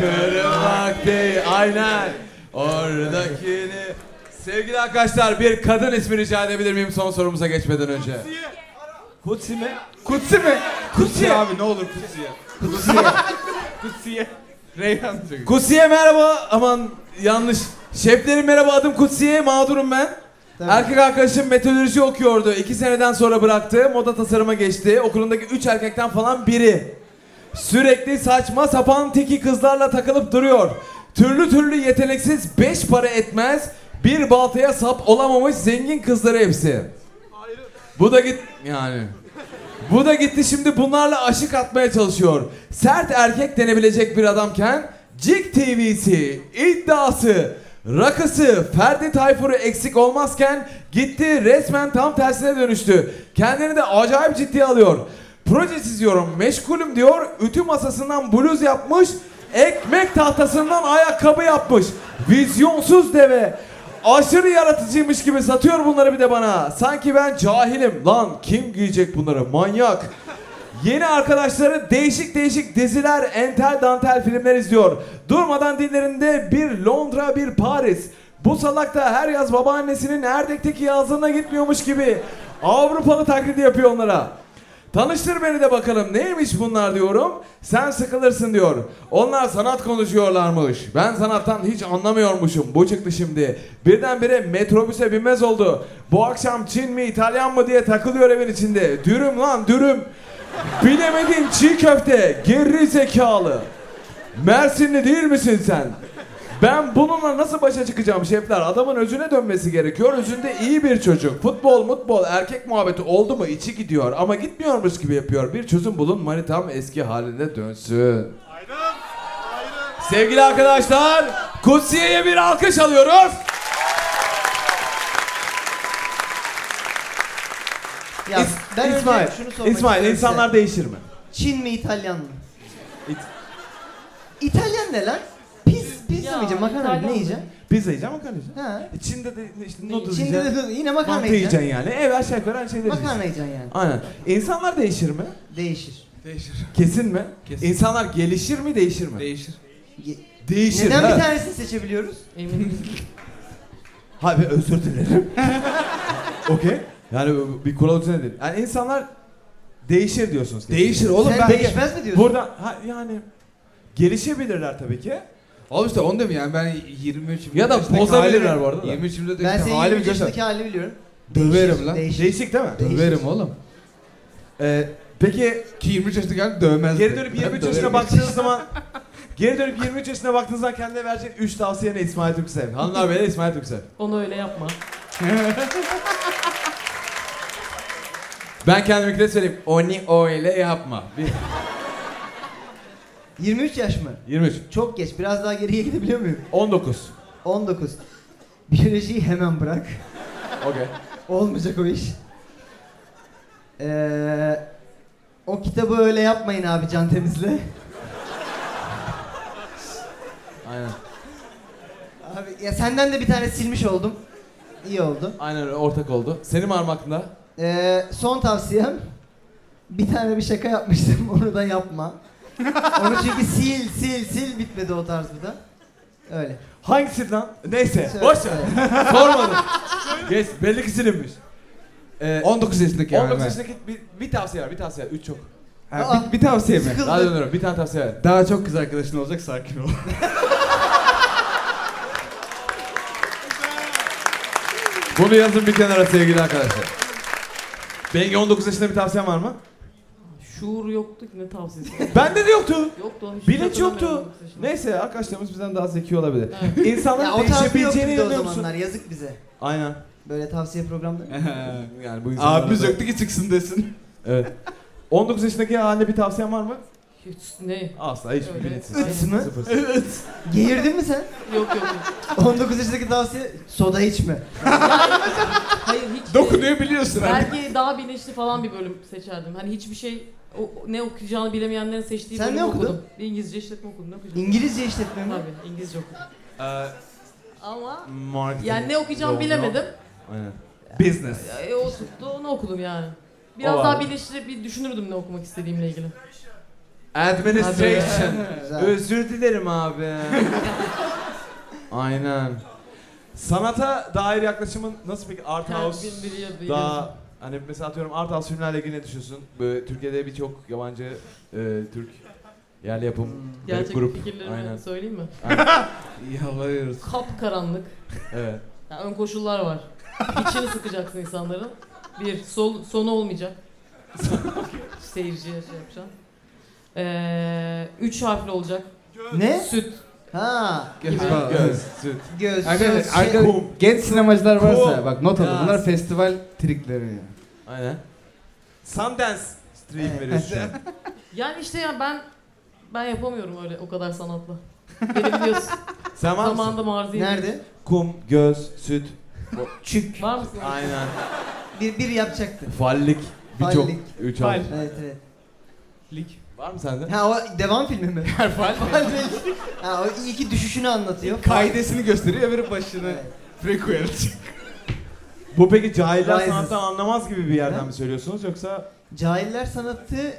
S1: kırmak değil. Aynen. Oradakini. Sevgili arkadaşlar bir kadın ismi rica edebilir miyim son sorumuza geçmeden önce? Kutsi mi?
S3: Kutsi mi?
S1: Kutsi.
S3: abi ne olur [laughs] Kutsi'ye. Kutsi'ye. Reyhan çünkü.
S1: Kutsi'ye merhaba. Aman yanlış. Şeflerim merhaba adım Kutsi'ye mağdurum ben.
S2: Tabii.
S1: Erkek arkadaşım meteoroloji okuyordu. İki seneden sonra bıraktı. Moda tasarıma geçti. Okulundaki üç erkekten falan biri. Sürekli saçma sapan teki kızlarla takılıp duruyor. Türlü türlü yeteneksiz beş para etmez. Bir baltaya sap olamamış zengin kızları hepsi. Bu da git yani. Bu da gitti şimdi bunlarla aşık atmaya çalışıyor. Sert erkek denebilecek bir adamken Cik TV'si, iddiası, rakısı, Ferdi Tayfur'u eksik olmazken gitti resmen tam tersine dönüştü. Kendini de acayip ciddiye alıyor. Proje çiziyorum, meşgulüm diyor, ütü masasından bluz yapmış, ekmek tahtasından ayakkabı yapmış. Vizyonsuz deve. Aşırı yaratıcıymış gibi satıyor bunları bir de bana. Sanki ben cahilim. Lan kim giyecek bunları? Manyak. Yeni arkadaşları değişik değişik diziler, entel dantel filmler izliyor. Durmadan dillerinde bir Londra, bir Paris. Bu salak da her yaz babaannesinin Erdek'teki yazlığına gitmiyormuş gibi Avrupalı taklidi yapıyor onlara. Tanıştır beni de bakalım neymiş bunlar diyorum. Sen sıkılırsın diyor. Onlar sanat konuşuyorlarmış. Ben sanattan hiç anlamıyormuşum. Bu çıktı şimdi. Birdenbire metrobüse binmez oldu. Bu akşam Çin mi İtalyan mı diye takılıyor evin içinde. Dürüm lan dürüm. Bilemedin çiğ köfte. Geri zekalı. Mersinli değil misin sen? Ben bununla nasıl başa çıkacağım şefler? Adamın özüne dönmesi gerekiyor. Özünde iyi bir çocuk. Futbol, mutbol, erkek muhabbeti oldu mu içi gidiyor. Ama gitmiyormuş gibi yapıyor. Bir çözüm bulun manitam eski haline dönsün.
S5: Aynen. Aynen.
S1: Sevgili arkadaşlar, Kutsiye'ye bir alkış alıyoruz.
S2: Ya
S1: İs-
S2: ben önce
S1: İsmail,
S2: şunu sormak
S1: İsmail
S2: istiyorum
S1: insanlar
S2: size.
S1: değişir mi?
S2: Çin mi İtalyan mı?
S1: İt-
S2: İtalyan ne lan? Pis, pis
S4: Ya,
S2: yemeyeceğim makarna mı?
S4: İtalyan
S2: ne
S4: mı?
S2: yiyeceğim?
S1: Pizza yiyeceğim, makarna yiyeceğim.
S2: Ha.
S1: İçinde de işte noodle
S4: yiyeceksin?
S1: yiyeceksin.
S2: Şimdi de yine makarna
S1: Mantı
S2: yiyeceğim.
S1: yiyeceksin yani. şey Evet aşağı yukarı aynı şeyleri yiyeceksin.
S2: Makarna yiyeceksin yani.
S1: Aynen. İnsanlar değişir mi?
S2: Değişir.
S3: Değişir.
S1: Kesin mi?
S3: Kesin.
S1: İnsanlar gelişir mi değişir mi?
S3: Değişir.
S2: Ye-
S1: değişir.
S2: Neden
S1: evet.
S2: bir tanesini seçebiliyoruz?
S4: Eminim.
S1: Abi özür dilerim. [laughs] Okey. Yani bir kural üzerine değil. Yani insanlar değişir diyorsunuz.
S3: Değişir oğlum
S2: Sen
S3: ben...
S2: değişmez mi diyorsun?
S1: Burada ha, yani gelişebilirler tabii ki.
S3: Oğlum işte onu demiyorum yani ben 23
S1: Ya da
S3: yaşındaki
S1: bozabilirler
S3: halimi-
S1: bu arada da.
S3: 23 yaşındaki
S2: Ben senin
S3: halimi
S2: 23
S3: görsen
S2: yaşındaki halini biliyorum.
S3: Döverim lan.
S2: Değişir.
S1: Değişik değil mi?
S2: Değişir.
S3: Döverim oğlum.
S1: Ee, peki
S3: E, Ki 23 yaşındaki halim dövmez.
S1: geri
S3: de.
S1: dönüp
S3: Ben
S1: 23
S3: döverim.
S1: yaşına baktığınız zaman geri dönüp 23 yaşına baktığınız zaman kendine vereceğin 3 tavsiye ne İsmail Türksev? Hanımlar beyler İsmail Türksev.
S4: Onu öyle yapma.
S1: Ben kendimkine söyleyeyim. Oni öyle yapma.
S3: [laughs]
S1: Bir,
S2: 23 yaş mı?
S1: 23.
S2: Çok geç. Biraz daha geriye gidebiliyor muyum?
S1: 19.
S2: 19. Biyolojiyi hemen bırak.
S1: Okey.
S2: Olmayacak o iş. Ee, o kitabı öyle yapmayın abi can temizle.
S1: Aynen.
S2: Abi ya senden de bir tane silmiş oldum. İyi oldu.
S1: Aynen öyle ortak oldu. Senin var mı aklında?
S2: Ee, son tavsiyem bir tane bir şaka yapmıştım [laughs] onu da yapma. onu çünkü sil sil sil bitmedi o tarz bir de. Öyle.
S1: Hangisi lan? Neyse.
S2: Söyle-
S1: Boş ver.
S2: söyle.
S1: Sormadım. Geç. Belli ki silinmiş. Ee,
S3: 19 yaşındaki
S1: 19
S3: halime.
S1: yaşındaki bir, bir tavsiye var. Bir tavsiye var. 3 çok.
S3: Ha, bir, bir tavsiye mi?
S2: Sıkıldım.
S1: Daha dönüyorum. Bir tane tavsiye ver.
S3: [laughs] Daha çok kız arkadaşın olacak [laughs] sakin ol.
S1: Bunu yazın bir kenara sevgili arkadaşlar. Bengi 19 yaşında bir tavsiyen var mı?
S4: Şuur yoktu ki ne tavsiyesi.
S1: Bende de yoktu.
S4: Yoktu onu hiç
S1: Bilinç
S4: hatırlamıyorum
S1: yoktu.
S4: yoksa şimdi.
S1: Neyse arkadaşlarımız bizden daha zeki olabilir.
S4: Evet.
S1: İnsanların
S2: Ya o tarz bir yoktu
S1: değişebileceğine
S2: bir de o
S1: inanıyor musun?
S2: zamanlar yazık bize.
S1: Aynen.
S2: Böyle tavsiye programları.
S1: yani bu insanlar
S3: Abimiz
S1: da-
S3: yoktu ki çıksın desin.
S1: Evet. 19 yaşındaki haline bir tavsiyen var mı?
S4: Hiç ne?
S1: Asla hiçbir
S4: Öyle.
S1: bilinçsiz.
S4: Aynen.
S2: Üts mü?
S1: Sıfır.
S2: Geğirdin mi sen? [laughs]
S4: Yok yok yok.
S2: 19 yaşındaki tavsiye soda içme.
S4: Hayır hiç.
S3: Dokunuyor biliyorsun hani.
S4: Belki daha bilinçli falan bir bölüm seçerdim. Hani hiçbir şey o, ne okuyacağını bilemeyenlerin seçtiği
S2: Sen
S4: bölümü
S2: ne okudun?
S4: okudum. İngilizce işletme okudum. Ne okuyacağım?
S2: İngilizce işletme mi?
S4: Tabii İngilizce okudum.
S1: Ee,
S4: Ama
S1: marketing.
S4: yani ne okuyacağımı
S1: Yok, yok.
S4: bilemedim.
S1: Aynen. Business.
S4: E, o tuttu onu okudum yani. Biraz
S1: O
S4: daha
S1: abi.
S4: bilinçli bir düşünürdüm ne okumak istediğimle ilgili.
S1: Administration.
S2: Güzel.
S1: Özür dilerim
S3: [laughs]
S1: abi. Aynen. Sanata dair yaklaşımın nasıl peki art
S4: Her
S1: house
S4: gün bir yazı
S1: daha hani mesela atıyorum art house filmlerle ilgili ne düşünüyorsun? Böyle Türkiye'de birçok yabancı e, Türk yerli yapım garip
S4: Gerçek
S1: grup.
S4: fikirlerimi
S1: Aynen.
S4: söyleyeyim mi?
S3: Yalvarıyoruz.
S4: Kap karanlık.
S1: Evet.
S4: Yani ön koşullar var. İçini sıkacaksın insanların. Bir, sol, sonu olmayacak. [laughs] Seyirciye şey yapacaksın. Ee, üç harfli olacak.
S2: Ne?
S4: Süt.
S2: Ha.
S3: Göz
S4: Gibi.
S3: bağlı.
S1: Göz, süt.
S2: Göz. söz,
S3: Arkadaşlar,
S2: şey-
S3: arka- genç sinemacılar varsa
S1: Kum.
S3: bak not alın.
S1: Yaz.
S3: Bunlar festival trikleri. yani.
S1: Aynen. Sundance stream
S2: Evet.
S1: veriyoruz
S3: [laughs]
S1: şu an.
S4: Yani işte ya ben ben yapamıyorum öyle o kadar sanatla. Beni
S2: [laughs]
S4: biliyorsun.
S1: Sen var mısın?
S4: Zamanında marzi.
S2: Nerede?
S1: Kum, göz, süt.
S2: Çük.
S4: Var mısın?
S1: Aynen.
S2: Bir, bir yapacaktı.
S1: Fallik. Birçok.
S2: Fallik.
S1: Üç harf.
S2: Evet evet.
S3: Lig.
S1: Var mı sende?
S2: Ha o devam filmi mi? [laughs]
S3: Erfal.
S2: Halbuki- ha o iyi ki düşüşünü anlatıyor.
S3: Kaidesini gösteriyor öbürü başını.
S2: Evet.
S3: Frequency.
S1: Bu peki cahiller
S2: Rises.
S1: sanattan anlamaz gibi bir yerden
S2: Ne?
S1: mi söylüyorsunuz yoksa
S2: Cahiller sanatı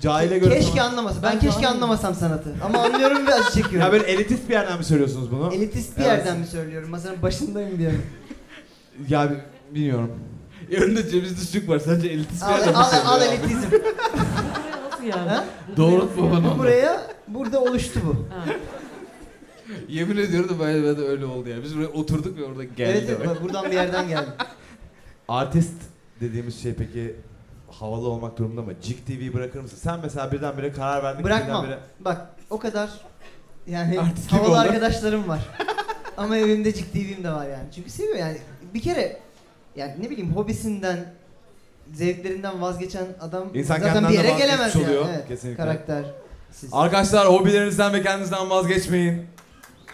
S1: Cahile göre
S2: keşke
S1: sanat-
S2: anlamasa. Ben keşke anlamasam sanatı. Ama anlıyorum ve acı
S1: [laughs]
S2: çekiyorum.
S1: Ya böyle elitist bir yerden mi söylüyorsunuz bunu?
S2: Elitist bir
S1: Evet.
S2: yerden mi söylüyorum? Masanın başındayım diye.
S1: ya bilmiyorum.
S3: Önünde ceviz düşük var sadece elitist bir
S2: Al,
S3: adam
S2: al,
S3: söylüyor
S2: al
S3: abi.
S2: elitizm.
S4: Buraya nasıl yani?
S2: Ha?
S3: Doğrult babanı onu.
S2: Buraya, burada oluştu bu.
S4: Ha.
S3: Yemin ediyorum da ben, ben de öyle oldu ya. Biz buraya oturduk ve orada geldi.
S2: evet, evet, buradan bir yerden geldi.
S1: Artist dediğimiz şey peki havalı olmak durumunda mı? Cik TV'yi bırakır mısın? Sen mesela birdenbire karar verdin. ki
S2: Bırakmam.
S1: birdenbire-
S2: Bak, o kadar yani
S3: Artistlik
S2: havalı
S3: oldu.
S2: arkadaşlarım var. Ama evimde ciktiğim de var yani. Çünkü seviyor yani. Bir kere yani ne bileyim hobisinden, zevklerinden vazgeçen adam
S1: İnsan
S2: zaten
S1: kendinden
S2: bir
S1: de
S2: yere
S1: vazgeçmiş
S2: gelemez yani.
S1: oluyor,
S2: Evet,
S1: kesinlikle.
S2: Karakter. Siz.
S1: Arkadaşlar hobilerinizden ve kendinizden vazgeçmeyin.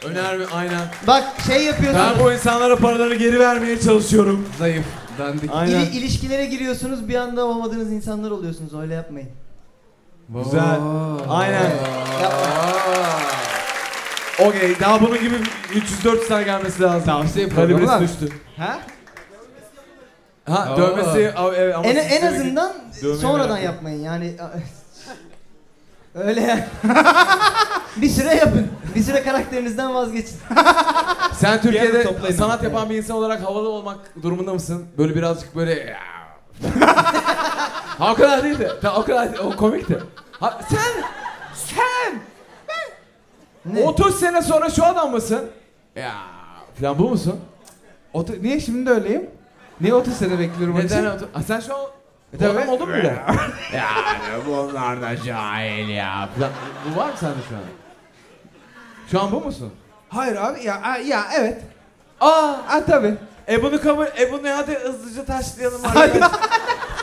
S1: Önerme aynen.
S2: Bak şey yapıyorsun.
S1: Ben bu insanlara paralarını geri vermeye çalışıyorum.
S3: Zayıf, dandik.
S1: Aynen.
S2: İli- ilişkilere giriyorsunuz bir anda olmadığınız insanlar oluyorsunuz öyle yapmayın.
S1: Güzel. Aynen. Okey daha bunun gibi 304 tane gelmesi lazım.
S3: Tavsiye programı
S1: Kalibresi
S3: var.
S1: düştü.
S2: Ha?
S1: Ha
S3: Aa.
S1: dövmesi a- evet, ama
S2: En,
S1: sizlere
S2: en azından
S1: Dövmeyi
S2: sonradan
S1: merak
S2: yapmayın yani. e, öyle yani. [laughs] bir süre yapın. Bir süre karakterinizden vazgeçin.
S1: Sen
S3: yerde
S1: Türkiye'de
S3: toplayın
S1: sanat yapan bir insan olarak havalı olmak durumunda mısın? Böyle birazcık
S2: [laughs]
S1: böyle Ha o kadar değildi. Ta, o kadar o komikti. Ha, sen sen
S2: Ne?
S1: 30 sene sonra şu adam mısın? Ya falan bu musun?
S3: Otu- Niye şimdi de öyleyim? Niye 30 sene bekliyorum onun
S1: Neden?
S3: için?
S1: otu- Ha, sen şu an
S3: E,
S1: e,
S3: tabii.
S1: adam oldun mu bile?
S5: Yani bunlar da cahil ya.
S1: Falan. Bu var mı sende şu an? Şu an bu musun?
S3: Hayır abi ya a- ya evet. Aa, a tabii.
S1: E bunu kabul, e bunu hadi
S5: [laughs]
S1: hızlıca taşlayalım arkadaşlar.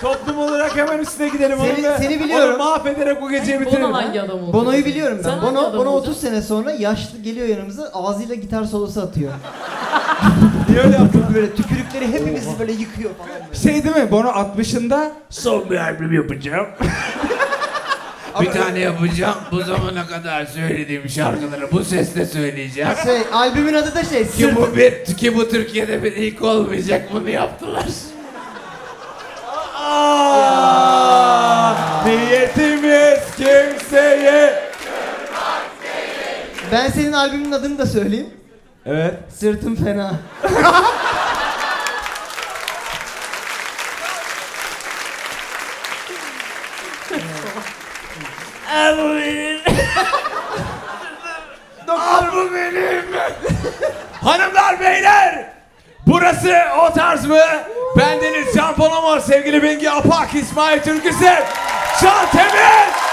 S1: Toplum olarak hemen üstüne gidelim
S2: Seni-
S1: onun ve
S2: seni biliyorum.
S1: Onu mahvederek bu
S2: Şey,
S1: geceyi bitirelim.
S4: Bono hangi adam oldu?
S2: Bono'yu biliyorum ben.
S4: Sen hangi
S2: Bono,
S4: adam
S2: Bono
S4: olacaksın?
S2: 30 sene sonra yaşlı geliyor yanımıza ağzıyla gitar solosu atıyor.
S1: Niye öyle yaptın?
S2: Böyle tükürükleri hepimizi böyle yıkıyor falan. böyle.
S3: Şey değil mi? Bono 60'ında
S5: Son bir albüm yapacağım.
S1: [laughs]
S5: bir tane yapacağım. Bu zamana kadar söylediğim şarkıları bu sesle söyleyeceğim.
S2: Şey, albümün adı da şey. Sırt.
S5: Ki bu bir, ki bu Türkiye'de bir ilk olmayacak bunu yaptılar.
S1: Aa, Niyetimiz kimseye.
S2: Ben senin albümün adını da söyleyeyim.
S1: Evet.
S2: Sırtım fena.
S5: Al bu benim. Al bu benim.
S1: Hanımlar beyler. Burası o tarz mı? Bendeniz Can Ponomor, sevgili Bengi Apak, İsmail Türküsev, Can Temiz.